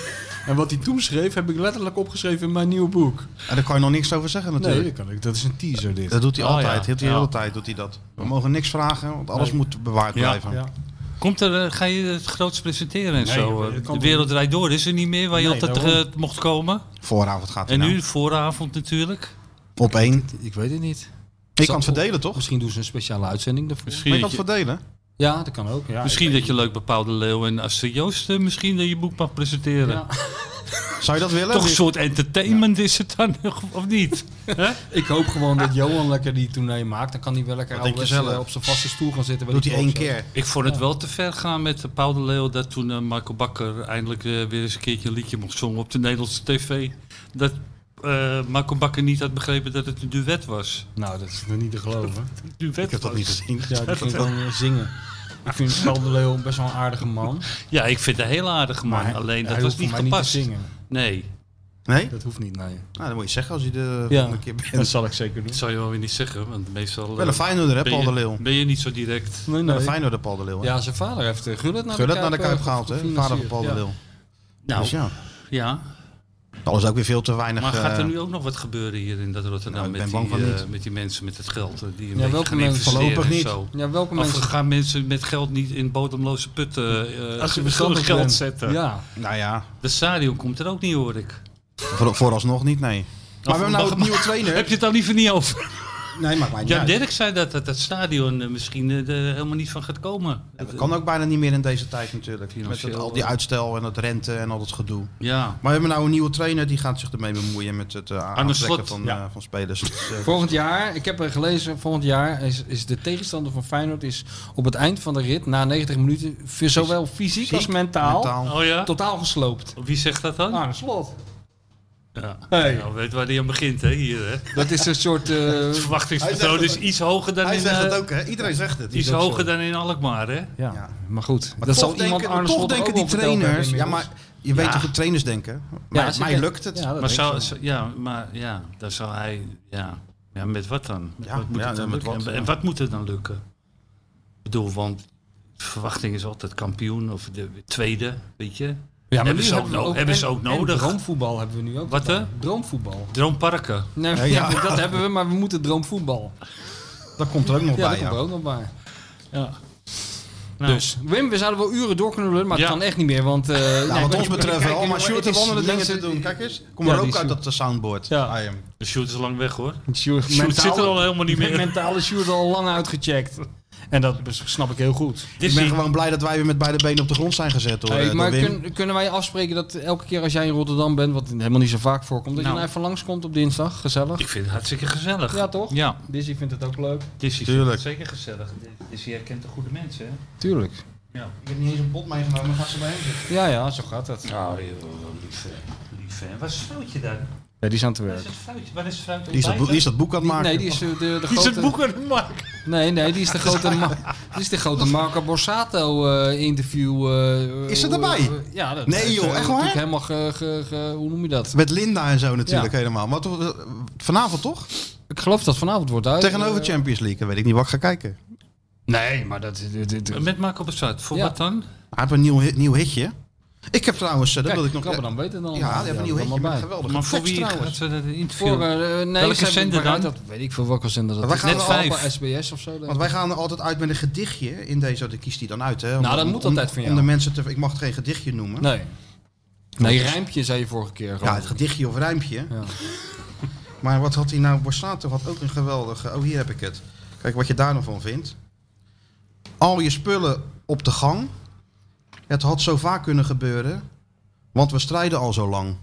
[SPEAKER 2] En wat hij toen schreef, heb ik letterlijk opgeschreven in mijn nieuwe boek.
[SPEAKER 3] En daar kan je nog niks over zeggen
[SPEAKER 2] Nee,
[SPEAKER 3] natuurlijk.
[SPEAKER 2] dat kan ik. Dat is een teaser dit.
[SPEAKER 3] Dat doet hij
[SPEAKER 4] Oh,
[SPEAKER 3] altijd.
[SPEAKER 4] ja.
[SPEAKER 3] Heel de
[SPEAKER 4] Ja.
[SPEAKER 3] hele tijd doet hij dat. We mogen niks vragen, want alles moet bewaard
[SPEAKER 4] Ja.
[SPEAKER 3] blijven.
[SPEAKER 2] Ja.
[SPEAKER 4] Komt er, eh, ga je het groots presenteren en zo?
[SPEAKER 2] joh, dat
[SPEAKER 4] eh?
[SPEAKER 2] kan
[SPEAKER 4] de
[SPEAKER 2] toch
[SPEAKER 4] wereld draait door, is er niet meer waar je
[SPEAKER 2] Nee,
[SPEAKER 4] altijd
[SPEAKER 2] daarom.
[SPEAKER 4] eh, mocht komen.
[SPEAKER 3] Vooravond gaat hij
[SPEAKER 4] En
[SPEAKER 3] nou.
[SPEAKER 4] nu, vooravond natuurlijk.
[SPEAKER 3] Op één.
[SPEAKER 2] Ik weet het niet.
[SPEAKER 3] Ik kan het verdelen, toch?
[SPEAKER 2] Misschien doen ze een speciale uitzending daarvoor.
[SPEAKER 3] Maar
[SPEAKER 4] Misschien,
[SPEAKER 3] je kan
[SPEAKER 4] dat
[SPEAKER 3] het
[SPEAKER 4] je,
[SPEAKER 3] verdelen.
[SPEAKER 2] Ja, dat kan ook. Ja,
[SPEAKER 4] misschien dat je leuk bepaalde leeuw en Astrid Joost eh, misschien dat je boek mag presenteren.
[SPEAKER 2] Ja.
[SPEAKER 3] Zou je dat willen?
[SPEAKER 4] Toch een soort entertainment is het dan, of niet?
[SPEAKER 2] Ik hoop gewoon dat Johan lekker die tournee maakt. Dan kan hij wel lekker
[SPEAKER 3] Ah. Wat denk je
[SPEAKER 2] ouderwets,
[SPEAKER 3] zelf?
[SPEAKER 2] eh, op zijn vaste stoel gaan zitten. weet
[SPEAKER 3] Doet
[SPEAKER 2] ik
[SPEAKER 3] hij
[SPEAKER 2] wel,
[SPEAKER 3] één
[SPEAKER 2] of zo.
[SPEAKER 3] keer.
[SPEAKER 4] Ik vond het wel te ver gaan met eh, Paul de Leeuw dat toen eh, Michael Bakker eindelijk eh, weer eens een keertje een liedje mocht zongen op de Nederlandse tv. Dat eh Michael Bakker niet had begrepen dat het een duet was.
[SPEAKER 2] Nou, dat is nog niet te geloven.
[SPEAKER 4] Duet
[SPEAKER 3] Ik heb dat niet gezien.
[SPEAKER 2] Ja, die ging gewoon eh, zingen. Ik vind Paul de Leeuw best wel een aardige man.
[SPEAKER 4] Ja, ik vind het een heel aardige man.
[SPEAKER 2] Maar
[SPEAKER 4] Alleen dat
[SPEAKER 2] hij
[SPEAKER 4] was
[SPEAKER 2] hoeft
[SPEAKER 4] niet
[SPEAKER 2] voor mij
[SPEAKER 4] gepast.
[SPEAKER 2] Niet te zingen.
[SPEAKER 4] nee,
[SPEAKER 3] Nee?
[SPEAKER 2] Dat hoeft niet, nee.
[SPEAKER 3] Nou, dan moet je zeggen als je de
[SPEAKER 2] Ja.
[SPEAKER 3] volgende keer bent.
[SPEAKER 2] zal ik zeker doen.
[SPEAKER 4] dat zou je wel weer niet zeggen, want meestal. eh,
[SPEAKER 3] Wel een Feyenoorder, hè,
[SPEAKER 4] ben,
[SPEAKER 3] Paul de Leeuw.
[SPEAKER 4] je, ben je niet zo direct.
[SPEAKER 2] Nee,
[SPEAKER 3] Wel een
[SPEAKER 2] nee.
[SPEAKER 3] Feyenoorder, Paul de Leeuw. hè?
[SPEAKER 2] Ja, zijn vader heeft eh, Gullit naar,
[SPEAKER 3] Gullit naar de Kuip
[SPEAKER 2] eh,
[SPEAKER 3] gehaald, hè?
[SPEAKER 2] gefinancierd.
[SPEAKER 3] Nou. Vader van Paul de
[SPEAKER 2] Ja.
[SPEAKER 3] Leeuw.
[SPEAKER 4] Nou
[SPEAKER 3] Dus ja.
[SPEAKER 4] ja.
[SPEAKER 3] Dat is ook weer veel te weinig.
[SPEAKER 4] Maar gaat er
[SPEAKER 3] eh,
[SPEAKER 4] nu ook nog wat gebeuren hier in dat
[SPEAKER 3] nou,
[SPEAKER 4] Rotterdam
[SPEAKER 3] ik
[SPEAKER 4] met,
[SPEAKER 3] ben
[SPEAKER 4] die,
[SPEAKER 3] bang van
[SPEAKER 4] eh,
[SPEAKER 3] niet.
[SPEAKER 4] met die mensen met het geld? eh, Die een
[SPEAKER 2] Ja,
[SPEAKER 4] beetje
[SPEAKER 2] welke
[SPEAKER 4] gaan
[SPEAKER 2] mensen?
[SPEAKER 4] investeren
[SPEAKER 3] Voorlopig
[SPEAKER 4] en
[SPEAKER 3] niet.
[SPEAKER 4] zo.
[SPEAKER 2] Ja, welke
[SPEAKER 4] Of
[SPEAKER 2] mensen...
[SPEAKER 4] gaan mensen met geld niet in bodemloze putten eh,
[SPEAKER 5] Als je
[SPEAKER 4] eh,
[SPEAKER 5] verschillende
[SPEAKER 4] schuldig
[SPEAKER 5] geld
[SPEAKER 4] bent?
[SPEAKER 5] zetten.
[SPEAKER 2] Ja.
[SPEAKER 3] nou ja,
[SPEAKER 4] De stadion komt er ook niet, hoor ik.
[SPEAKER 3] voor, vooralsnog niet, nee. Maar we hebben nou
[SPEAKER 4] mag-
[SPEAKER 3] een nieuwe trainer.
[SPEAKER 4] Heb je het dan liever niet over?
[SPEAKER 3] Nee, maakt mij niet
[SPEAKER 4] Ja,
[SPEAKER 3] uit.
[SPEAKER 4] Dirk zei dat dat, dat stadion eh, misschien eh, er helemaal niet van gaat komen.
[SPEAKER 3] Ja, Dat kan ook bijna niet meer in deze tijd natuurlijk. Met
[SPEAKER 4] Financieel,
[SPEAKER 3] het- al die
[SPEAKER 4] eh.
[SPEAKER 3] uitstel en het rente en al dat gedoe.
[SPEAKER 4] Ja.
[SPEAKER 3] Maar we hebben nou een nieuwe trainer die gaat zich ermee bemoeien met het eh, aantrekken
[SPEAKER 4] Slot,
[SPEAKER 3] van,
[SPEAKER 5] ja.
[SPEAKER 3] eh, van spelers. Dus, eh,
[SPEAKER 2] Volgend jaar, ik heb er gelezen, volgend jaar is, is de tegenstander van Feyenoord is op het eind van de rit, na 90 minuten, v- zowel fysiek als mentaal,
[SPEAKER 3] mentaal.
[SPEAKER 5] Oh ja?
[SPEAKER 2] totaal gesloopt.
[SPEAKER 4] Wie zegt Ah, dat dan?
[SPEAKER 2] Aan slot.
[SPEAKER 4] Ja.
[SPEAKER 2] Hey.
[SPEAKER 4] Nou, weet waar die aan begint, hè, hier. Hè.
[SPEAKER 2] Dat is een soort... eh,
[SPEAKER 4] Het
[SPEAKER 3] Hij
[SPEAKER 4] verwachtingspatroon
[SPEAKER 3] zegt
[SPEAKER 4] is
[SPEAKER 3] dat
[SPEAKER 4] iets hoger dan
[SPEAKER 3] Hij
[SPEAKER 4] in,
[SPEAKER 3] zegt
[SPEAKER 4] eh,
[SPEAKER 3] het ook, hè? Iedereen zegt het.
[SPEAKER 4] iets
[SPEAKER 2] ook zo.
[SPEAKER 4] hoger dan in Alkmaar, hè?
[SPEAKER 2] ja.
[SPEAKER 3] Ja.
[SPEAKER 2] maar goed.
[SPEAKER 3] Maar
[SPEAKER 2] dat
[SPEAKER 3] toch
[SPEAKER 2] zal iemand
[SPEAKER 3] denken-
[SPEAKER 2] Arne
[SPEAKER 3] toch
[SPEAKER 2] Slot er
[SPEAKER 3] denken
[SPEAKER 2] ook
[SPEAKER 3] die
[SPEAKER 2] wel verteld hebben
[SPEAKER 3] trainers. Ja,
[SPEAKER 2] inmiddels.
[SPEAKER 3] maar je weet
[SPEAKER 4] Ja.
[SPEAKER 3] hoe trainers denken.
[SPEAKER 2] Ja,
[SPEAKER 3] Maar mij
[SPEAKER 2] zeker.
[SPEAKER 3] lukt het.
[SPEAKER 2] Ja, dat
[SPEAKER 4] Maar,
[SPEAKER 2] weet
[SPEAKER 4] zou,
[SPEAKER 2] ik
[SPEAKER 4] zou- ja, maar ja, dan zou hij. Ja, ja met wat dan? Met
[SPEAKER 3] Ja,
[SPEAKER 4] wat moet
[SPEAKER 3] ja,
[SPEAKER 4] het dan
[SPEAKER 3] ja, met
[SPEAKER 4] lukken?
[SPEAKER 3] wat,
[SPEAKER 4] en, en wat moet het dan lukken? Ik bedoel, want de verwachting is altijd kampioen of de tweede, weet je?
[SPEAKER 2] Ja,
[SPEAKER 4] Hebben
[SPEAKER 2] nu
[SPEAKER 4] ze ook no- hebben ze
[SPEAKER 2] en-
[SPEAKER 4] ook
[SPEAKER 2] en
[SPEAKER 4] nodig.
[SPEAKER 2] droomvoetbal hebben we nu ook.
[SPEAKER 4] Wat,
[SPEAKER 2] erbij.
[SPEAKER 4] hè?
[SPEAKER 2] Droomvoetbal.
[SPEAKER 4] Droomparken.
[SPEAKER 2] Nee,
[SPEAKER 3] Ja, ja.
[SPEAKER 2] dat hebben we, maar we moeten droomvoetbal.
[SPEAKER 3] Dat komt er ook nog
[SPEAKER 2] Ja, dat
[SPEAKER 3] bij.
[SPEAKER 2] komt er
[SPEAKER 3] Ja.
[SPEAKER 2] ook nog bij.
[SPEAKER 4] Ja. Nou,
[SPEAKER 2] Dus, Wim, we zouden wel uren door kunnen lullen, maar
[SPEAKER 4] Ja.
[SPEAKER 2] het kan echt niet meer. Want, eh, nee,
[SPEAKER 3] Nou, wat
[SPEAKER 2] maar-
[SPEAKER 3] ons betreft
[SPEAKER 2] kijk,
[SPEAKER 3] wel. Maar
[SPEAKER 2] jongen,
[SPEAKER 3] Sjoerd
[SPEAKER 2] het
[SPEAKER 3] heeft
[SPEAKER 2] is
[SPEAKER 3] andere dingen te
[SPEAKER 2] mensen-
[SPEAKER 3] doen. Kijk eens. Kom
[SPEAKER 2] Ja,
[SPEAKER 3] maar
[SPEAKER 2] die
[SPEAKER 3] ook uit
[SPEAKER 2] Sjoerd.
[SPEAKER 3] dat eh, soundboard.
[SPEAKER 2] Ja.
[SPEAKER 3] I am.
[SPEAKER 4] de shoot is lang weg hoor.
[SPEAKER 2] Sjoerd,
[SPEAKER 5] Sjoerd zit er
[SPEAKER 2] mentaal-
[SPEAKER 5] al helemaal niet meer.
[SPEAKER 2] Mentaal is Sjoerd al lang uitgecheckt. En dat bes- snap ik heel goed.
[SPEAKER 3] Ik ben gewoon blij dat wij weer met beide benen op de grond zijn gezet. Hoor,
[SPEAKER 2] Hey,
[SPEAKER 3] eh,
[SPEAKER 2] maar
[SPEAKER 3] door Wim.
[SPEAKER 2] kun- kunnen wij afspreken dat elke keer als jij in Rotterdam bent, wat helemaal niet zo vaak voorkomt, dat
[SPEAKER 4] Nou.
[SPEAKER 2] je nou even langskomt op dinsdag? Gezellig.
[SPEAKER 4] Ik vind het hartstikke gezellig.
[SPEAKER 2] Ja, toch?
[SPEAKER 4] Ja,
[SPEAKER 2] Dizzy vindt het ook leuk.
[SPEAKER 4] Dizzy vindt
[SPEAKER 3] Tuurlijk.
[SPEAKER 4] het zeker gezellig. Dizzy herkent de goede mensen, hè?
[SPEAKER 2] Tuurlijk.
[SPEAKER 4] Ja.
[SPEAKER 3] Ik heb niet eens een pot meegenomen. Ga ze bij hem zitten.
[SPEAKER 2] Ja, ja, zo gaat dat.
[SPEAKER 4] Nou, joh, lief, hè. lief. hè. Waar is het fruitje daar?
[SPEAKER 2] Ja, die is aan het
[SPEAKER 4] Waar is
[SPEAKER 2] werk.
[SPEAKER 4] het fruitje? Waar is het fruit?
[SPEAKER 3] Die is dat boek- die is dat boek aan het maken.
[SPEAKER 2] Nee, die is eh, de, de
[SPEAKER 5] Die
[SPEAKER 2] grote...
[SPEAKER 5] is het boek aan het maken.
[SPEAKER 2] Nee, nee, die is de grote, Ma- die is de grote Marco Borsato eh, interview. eh,
[SPEAKER 3] Is ze
[SPEAKER 2] eh,
[SPEAKER 3] erbij?
[SPEAKER 2] eh, ja, dat
[SPEAKER 3] Nee,
[SPEAKER 2] heeft,
[SPEAKER 3] joh,
[SPEAKER 2] eh,
[SPEAKER 3] echt waar?
[SPEAKER 2] natuurlijk helemaal ge, ge- ge- hoe noem je dat?
[SPEAKER 3] Met Linda en zo natuurlijk helemaal. Maar toch, eh, vanavond toch?
[SPEAKER 2] Ik geloof dat vanavond wordt uit.
[SPEAKER 3] Tegenover
[SPEAKER 2] Oh, eh,
[SPEAKER 3] Champions League. Dan weet ik niet wat ik ga kijken.
[SPEAKER 2] Nee, maar dat... Dit, dit, dit.
[SPEAKER 4] Eh, Met Marco Bassat. Voor
[SPEAKER 2] Ja.
[SPEAKER 4] wat dan?
[SPEAKER 3] Hij heeft een nieuw, hit- nieuw hitje. Ik heb trouwens, eh, dat
[SPEAKER 2] Kijk,
[SPEAKER 3] wil ik nog...
[SPEAKER 2] Krabbe dan beter dan.
[SPEAKER 3] Ja, hij heeft een nieuw hitje
[SPEAKER 2] allemaal
[SPEAKER 3] met
[SPEAKER 2] bij.
[SPEAKER 3] geweldige
[SPEAKER 4] Maar voor
[SPEAKER 3] tekst
[SPEAKER 4] wie
[SPEAKER 3] trouwens.
[SPEAKER 4] gaat ze dat interview?
[SPEAKER 2] Voor, eh, nee,
[SPEAKER 4] Welke
[SPEAKER 2] ze hebben
[SPEAKER 4] zender
[SPEAKER 2] maar uit,
[SPEAKER 4] dan?
[SPEAKER 2] Dat weet ik veel welke zender dat
[SPEAKER 3] Wij
[SPEAKER 2] is.
[SPEAKER 3] gaan
[SPEAKER 2] Net
[SPEAKER 3] er
[SPEAKER 4] al-
[SPEAKER 2] vijf. SBS of zo. denk
[SPEAKER 3] Want
[SPEAKER 2] ik.
[SPEAKER 3] wij gaan er altijd uit met een gedichtje in deze. Dat kiest hij dan uit, hè? Om-
[SPEAKER 2] Nou, dat
[SPEAKER 3] om-
[SPEAKER 2] moet
[SPEAKER 3] om-
[SPEAKER 2] altijd van jou.
[SPEAKER 3] Om de mensen te... Ik mag het geen gedichtje noemen.
[SPEAKER 2] Nee. Nee, rijmpje zei je vorige keer.
[SPEAKER 3] Ja,
[SPEAKER 2] Gewoon.
[SPEAKER 3] het gedichtje of rijmpje.
[SPEAKER 2] Ja.
[SPEAKER 3] Maar wat had hij nou? Borsato had ook een geweldige... Oh, hier heb ik het. Kijk wat je daar nog van vindt. Al je spullen op de gang. Het had zo vaak kunnen gebeuren. Want we strijden al zo lang.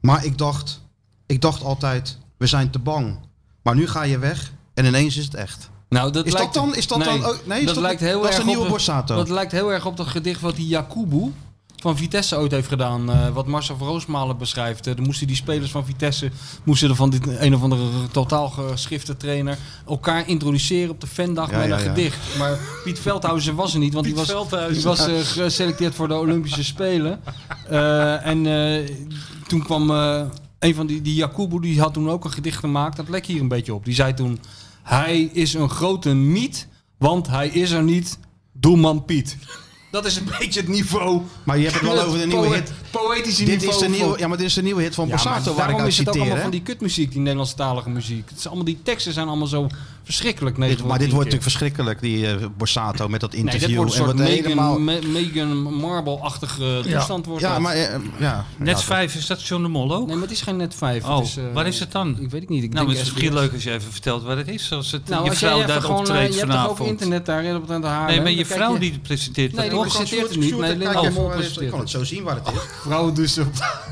[SPEAKER 3] Maar ik dacht... Ik dacht altijd, we zijn te bang. Maar nu ga je weg en ineens is het echt.
[SPEAKER 2] Nou, dat
[SPEAKER 3] Is
[SPEAKER 2] lijkt,
[SPEAKER 3] dat dan- is dat dan ook- nee, is
[SPEAKER 2] dat,
[SPEAKER 3] dat-
[SPEAKER 2] lijkt heel
[SPEAKER 3] dat
[SPEAKER 2] erg
[SPEAKER 3] is de nieuwe
[SPEAKER 2] op het-
[SPEAKER 3] Borsato.
[SPEAKER 2] Dat lijkt heel erg op dat gedicht wat die Jakubu van Vitesse ooit heeft gedaan. eh, wat Marcel van Roosmalen beschrijft. Eh, dan moesten die spelers van Vitesse, moesten er van dit een of andere totaal geschifte trainer, elkaar introduceren op de fandag
[SPEAKER 3] Ja,
[SPEAKER 2] met
[SPEAKER 3] ja,
[SPEAKER 2] een
[SPEAKER 3] ja.
[SPEAKER 2] gedicht. Maar Piet Veldhuizen was er niet, want die
[SPEAKER 5] Piet
[SPEAKER 2] was,
[SPEAKER 5] Veldhuizen.
[SPEAKER 2] die was eh, geselecteerd voor de Olympische Spelen. Eh, en eh, toen kwam eh, een van die, die Jacobo, die had toen ook een gedicht gemaakt. Dat lek hier een beetje op. Die zei toen: Hij is een grote niet, want hij is er niet. Doelman Piet. Dat is een beetje het niveau.
[SPEAKER 3] Maar je hebt het wel over de nieuwe hit.
[SPEAKER 2] Poëtische
[SPEAKER 3] Dit
[SPEAKER 2] niveau.
[SPEAKER 3] is de nieuwe,
[SPEAKER 2] van-
[SPEAKER 3] ja, maar dit is de nieuwe hit van
[SPEAKER 2] Ja, maar
[SPEAKER 3] Borsato waar ik
[SPEAKER 2] daarom
[SPEAKER 3] uit
[SPEAKER 2] is het ook
[SPEAKER 3] citeer.
[SPEAKER 2] allemaal
[SPEAKER 3] hè.
[SPEAKER 2] van die kutmuziek, die Nederlandstalige muziek. Het is allemaal, die teksten zijn allemaal zo verschrikkelijk.
[SPEAKER 3] Dit-
[SPEAKER 2] negen
[SPEAKER 3] maar dit
[SPEAKER 2] van
[SPEAKER 3] wordt
[SPEAKER 2] tien
[SPEAKER 3] natuurlijk verschrikkelijk, die eh, Borsato met dat
[SPEAKER 2] keer. Nee,
[SPEAKER 3] interview.
[SPEAKER 2] dit wordt een
[SPEAKER 3] en
[SPEAKER 2] soort
[SPEAKER 3] wat
[SPEAKER 2] Megan,
[SPEAKER 3] helemaal-
[SPEAKER 2] Me- Meghan Marble-achtige toestand. Wordt
[SPEAKER 3] Ja,
[SPEAKER 2] dat.
[SPEAKER 3] maar eh, ja.
[SPEAKER 4] Net
[SPEAKER 3] Ja,
[SPEAKER 4] 5, is dat John de Mol ook?
[SPEAKER 2] Nee, maar het is geen net 5.
[SPEAKER 4] oh, waar is het dan?
[SPEAKER 2] Ik weet het niet. Ik
[SPEAKER 4] nou,
[SPEAKER 2] denk
[SPEAKER 4] het is misschien
[SPEAKER 2] SBS.
[SPEAKER 4] leuk als je even vertelt waar het is. Als het
[SPEAKER 2] Nou,
[SPEAKER 4] je
[SPEAKER 2] als jij
[SPEAKER 4] vrouw
[SPEAKER 2] even
[SPEAKER 4] daar
[SPEAKER 2] gewoon, eh,
[SPEAKER 4] optreedt
[SPEAKER 2] Je hebt toch
[SPEAKER 4] vanavond.
[SPEAKER 2] ook internet daar op het haar.
[SPEAKER 4] nee, maar je vrouw die presenteert
[SPEAKER 2] Nee,
[SPEAKER 4] dat
[SPEAKER 2] die
[SPEAKER 4] toch?
[SPEAKER 2] presenteert-
[SPEAKER 3] Sjoerd,
[SPEAKER 2] het niet.
[SPEAKER 3] Sjoerd,
[SPEAKER 2] Nee,
[SPEAKER 3] kijk
[SPEAKER 2] Linda
[SPEAKER 3] even
[SPEAKER 2] Mol
[SPEAKER 3] waar het is.
[SPEAKER 2] presenteert
[SPEAKER 3] Ik kan het zo zien waar het is.
[SPEAKER 2] Vrouwen dus op,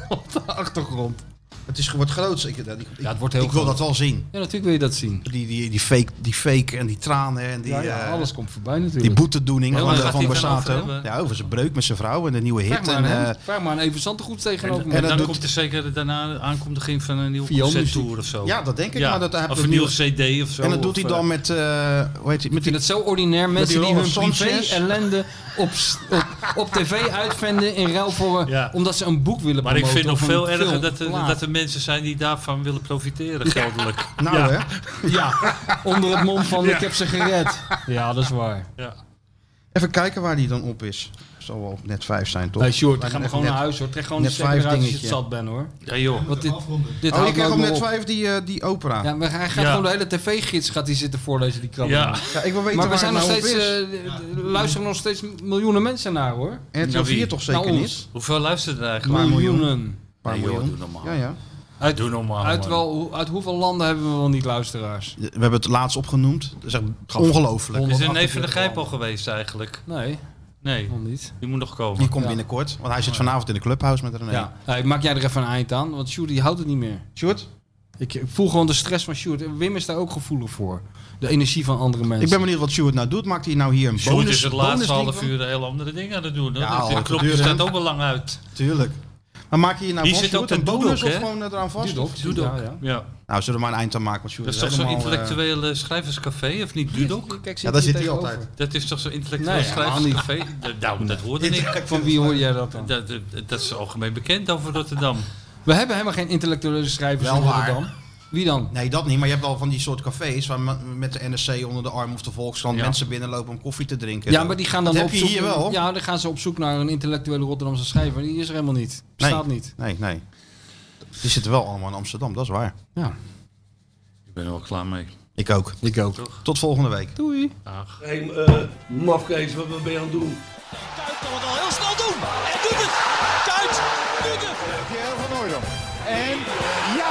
[SPEAKER 2] op de achtergrond.
[SPEAKER 3] Het is wordt groot. Ik, ik, ik,
[SPEAKER 2] Ja, het wordt heel
[SPEAKER 3] ik wil
[SPEAKER 2] groot.
[SPEAKER 3] dat wel zien.
[SPEAKER 2] Ja, natuurlijk wil je dat zien.
[SPEAKER 3] Die, die, die, fake, die fake en die tranen en die,
[SPEAKER 2] Ja,
[SPEAKER 3] eh,
[SPEAKER 2] alles komt voorbij
[SPEAKER 3] die
[SPEAKER 2] natuurlijk.
[SPEAKER 3] boetedoening
[SPEAKER 4] Maar
[SPEAKER 3] van,
[SPEAKER 4] waar
[SPEAKER 3] de-
[SPEAKER 4] gaat
[SPEAKER 3] van
[SPEAKER 4] hij het dan over
[SPEAKER 3] Borsato.
[SPEAKER 4] hebben?
[SPEAKER 3] Ja, over zijn breuk met zijn vrouw en de nieuwe hit.
[SPEAKER 2] vraag, maar aan
[SPEAKER 3] En, eh,
[SPEAKER 2] hem. vraag maar aan even Zantegoed tegenover me.
[SPEAKER 4] En
[SPEAKER 3] En
[SPEAKER 4] dan
[SPEAKER 3] dat doet-
[SPEAKER 4] komt er zeker daarna aankondiging van een nieuwe
[SPEAKER 2] Vioolmuziek.
[SPEAKER 4] concerttour of zo.
[SPEAKER 3] ja, dat denk ik.
[SPEAKER 4] Ja,
[SPEAKER 3] Maar dat, hij heeft
[SPEAKER 4] of
[SPEAKER 3] dat
[SPEAKER 4] een
[SPEAKER 3] nieuwe-
[SPEAKER 4] nieuwe CD of zo.
[SPEAKER 3] en dat doet hij
[SPEAKER 4] of,
[SPEAKER 3] dan
[SPEAKER 4] eh,
[SPEAKER 3] met, eh, hoe heet hij,
[SPEAKER 2] Ik
[SPEAKER 3] met
[SPEAKER 2] vind
[SPEAKER 3] die
[SPEAKER 2] het zo ordinair. Mensen die
[SPEAKER 3] Roland
[SPEAKER 2] hun
[SPEAKER 3] Sanchez.
[SPEAKER 2] privé-ellende op, s- op, op tv uitvenden in ruil voor... eh,
[SPEAKER 4] Ja.
[SPEAKER 2] Omdat ze een boek willen
[SPEAKER 4] Maar ik
[SPEAKER 2] promoten.
[SPEAKER 4] vind nog
[SPEAKER 2] of een
[SPEAKER 4] veel erger
[SPEAKER 2] film,
[SPEAKER 4] dat er,
[SPEAKER 2] plaat.
[SPEAKER 4] dat er mensen zijn die daarvan willen profiteren geldelijk.
[SPEAKER 3] Nou
[SPEAKER 4] Ja.
[SPEAKER 3] hè.
[SPEAKER 2] Ja, onder het mom van ik heb ze gered. Ja, dat is waar.
[SPEAKER 4] Ja.
[SPEAKER 3] Even kijken waar die dan op is. Zal wel op net 5 zijn, toch?
[SPEAKER 2] Hey, Sjoerd, dan
[SPEAKER 3] Maar
[SPEAKER 2] gaan we
[SPEAKER 3] net-
[SPEAKER 2] gewoon naar
[SPEAKER 3] net-
[SPEAKER 2] huis hoor. Trek gewoon de
[SPEAKER 3] net
[SPEAKER 2] stekker
[SPEAKER 3] vijf
[SPEAKER 2] eruit als je het
[SPEAKER 3] dingetje.
[SPEAKER 2] zat bent hoor.
[SPEAKER 4] Ja joh.
[SPEAKER 2] Want dit, dit
[SPEAKER 3] Oh, je
[SPEAKER 2] houdt
[SPEAKER 3] krijgt op
[SPEAKER 2] allemaal
[SPEAKER 3] net
[SPEAKER 2] op.
[SPEAKER 3] 5 die, eh, die opera.
[SPEAKER 2] Ja,
[SPEAKER 3] Ja,
[SPEAKER 2] maar hij gaat
[SPEAKER 5] Ja.
[SPEAKER 2] gewoon de hele tv-gids gaat hij zitten voorlezen, die krabben.
[SPEAKER 5] Ja.
[SPEAKER 3] ik wil weten
[SPEAKER 2] Maar we
[SPEAKER 3] waar
[SPEAKER 2] zijn nog
[SPEAKER 3] het nou
[SPEAKER 2] steeds,
[SPEAKER 3] op is.
[SPEAKER 2] eh, d- d- luisteren nog steeds miljoenen mensen naar hoor.
[SPEAKER 3] RTL
[SPEAKER 4] naar wie?
[SPEAKER 3] 4 toch
[SPEAKER 2] Naar
[SPEAKER 3] zeker niet?
[SPEAKER 2] ons.
[SPEAKER 4] Hoeveel luistert er eigenlijk?
[SPEAKER 3] Paar miljoen.
[SPEAKER 2] Miljoenen.
[SPEAKER 3] Een paar
[SPEAKER 4] Nee, joh,
[SPEAKER 3] miljoen.
[SPEAKER 4] doe normaal.
[SPEAKER 3] Ja, ja.
[SPEAKER 2] Uit,
[SPEAKER 5] Doe normaal.
[SPEAKER 2] uit,
[SPEAKER 5] man.
[SPEAKER 2] wel, hoe- uit hoeveel landen hebben we wel niet luisteraars?
[SPEAKER 3] We hebben het laatst opgenoemd. Dat is echt ongelooflijk.
[SPEAKER 4] Is er neef van de Gijp al geweest eigenlijk?
[SPEAKER 2] Nee,
[SPEAKER 4] Nee,
[SPEAKER 2] nog niet.
[SPEAKER 4] die moet nog komen.
[SPEAKER 3] Die komt binnenkort, want hij zit vanavond in de clubhouse met René.
[SPEAKER 2] Ja. Hey, maak jij er even een eind aan, want Sjoerd die houdt het niet meer.
[SPEAKER 3] Sjoerd,
[SPEAKER 2] Ik ik voel gewoon de stress van Sjoerd. En Wim is daar ook gevoelig voor. De energie van andere mensen.
[SPEAKER 3] ik ben benieuwd wat Sjoerd nou doet. Maakt hij nou hier een
[SPEAKER 4] Sjoerd
[SPEAKER 3] bonus?
[SPEAKER 4] is het
[SPEAKER 3] bonus
[SPEAKER 4] laatste
[SPEAKER 3] ding
[SPEAKER 4] half
[SPEAKER 3] van?
[SPEAKER 4] uur heel andere dingen aan het doen. hoor.
[SPEAKER 3] Ja,
[SPEAKER 4] Dat- de
[SPEAKER 3] al,
[SPEAKER 4] knopje
[SPEAKER 3] duurde,
[SPEAKER 4] staat
[SPEAKER 3] hè?
[SPEAKER 4] ook al lang uit.
[SPEAKER 3] Tuurlijk. Maar maak je hier nou
[SPEAKER 4] Hier
[SPEAKER 3] van
[SPEAKER 4] zit
[SPEAKER 3] Sjoerd
[SPEAKER 4] ook
[SPEAKER 3] een
[SPEAKER 4] dat doedok,
[SPEAKER 3] bonus of
[SPEAKER 4] hè?
[SPEAKER 3] gewoon eh, eraan vast?
[SPEAKER 2] Dudok.
[SPEAKER 4] Dudok.
[SPEAKER 2] Ja, ja.
[SPEAKER 4] Ja.
[SPEAKER 3] Nou, zullen we maar een eind aan maken, want Sjoerd
[SPEAKER 4] Dat is
[SPEAKER 3] is
[SPEAKER 4] toch zo'n
[SPEAKER 3] helemaal, eh,
[SPEAKER 4] intellectuele schrijverscafé, of niet? Dudok?
[SPEAKER 2] Kijk,
[SPEAKER 3] Ja, daar zit hij
[SPEAKER 2] tegenover.
[SPEAKER 3] altijd.
[SPEAKER 4] Dat is toch zo'n intellectueel
[SPEAKER 2] Nee, helemaal niet.
[SPEAKER 4] schrijverscafé? Dat- Nou, dat hoorde ik.
[SPEAKER 2] Van wie hoor jij dat dan?
[SPEAKER 4] Dat, dat, dat is algemeen bekend over Rotterdam.
[SPEAKER 2] We hebben helemaal geen intellectuele schrijvers
[SPEAKER 3] Wel
[SPEAKER 2] in
[SPEAKER 3] waar.
[SPEAKER 2] Rotterdam. Wie dan?
[SPEAKER 3] Nee, dat niet. Maar je hebt al van die soort cafés waar me- met de NSC onder de arm of de Volkskrant
[SPEAKER 4] Ja.
[SPEAKER 3] mensen binnenlopen om koffie te drinken.
[SPEAKER 2] Ja, maar die gaan dan
[SPEAKER 3] Dat
[SPEAKER 2] op
[SPEAKER 3] heb je
[SPEAKER 2] zoek.
[SPEAKER 3] hier wel.
[SPEAKER 2] Ja, dan gaan ze op zoek naar een intellectuele Rotterdamse schrijver. Die is er helemaal niet. Bestaat niet.
[SPEAKER 3] Nee, nee. Die zitten wel allemaal in Amsterdam, dat is waar.
[SPEAKER 2] Ja.
[SPEAKER 4] Ik ben er wel klaar mee.
[SPEAKER 3] Ik ook.
[SPEAKER 2] Ik ook.
[SPEAKER 3] Tot volgende week.
[SPEAKER 2] Doei.
[SPEAKER 1] Hé, eh, mafkees, wat wat ben je aan het doen?
[SPEAKER 6] Kuit kan het al heel snel doen. En doet het. Kuit doet het.
[SPEAKER 7] Pierre van Hooydonk. En ja!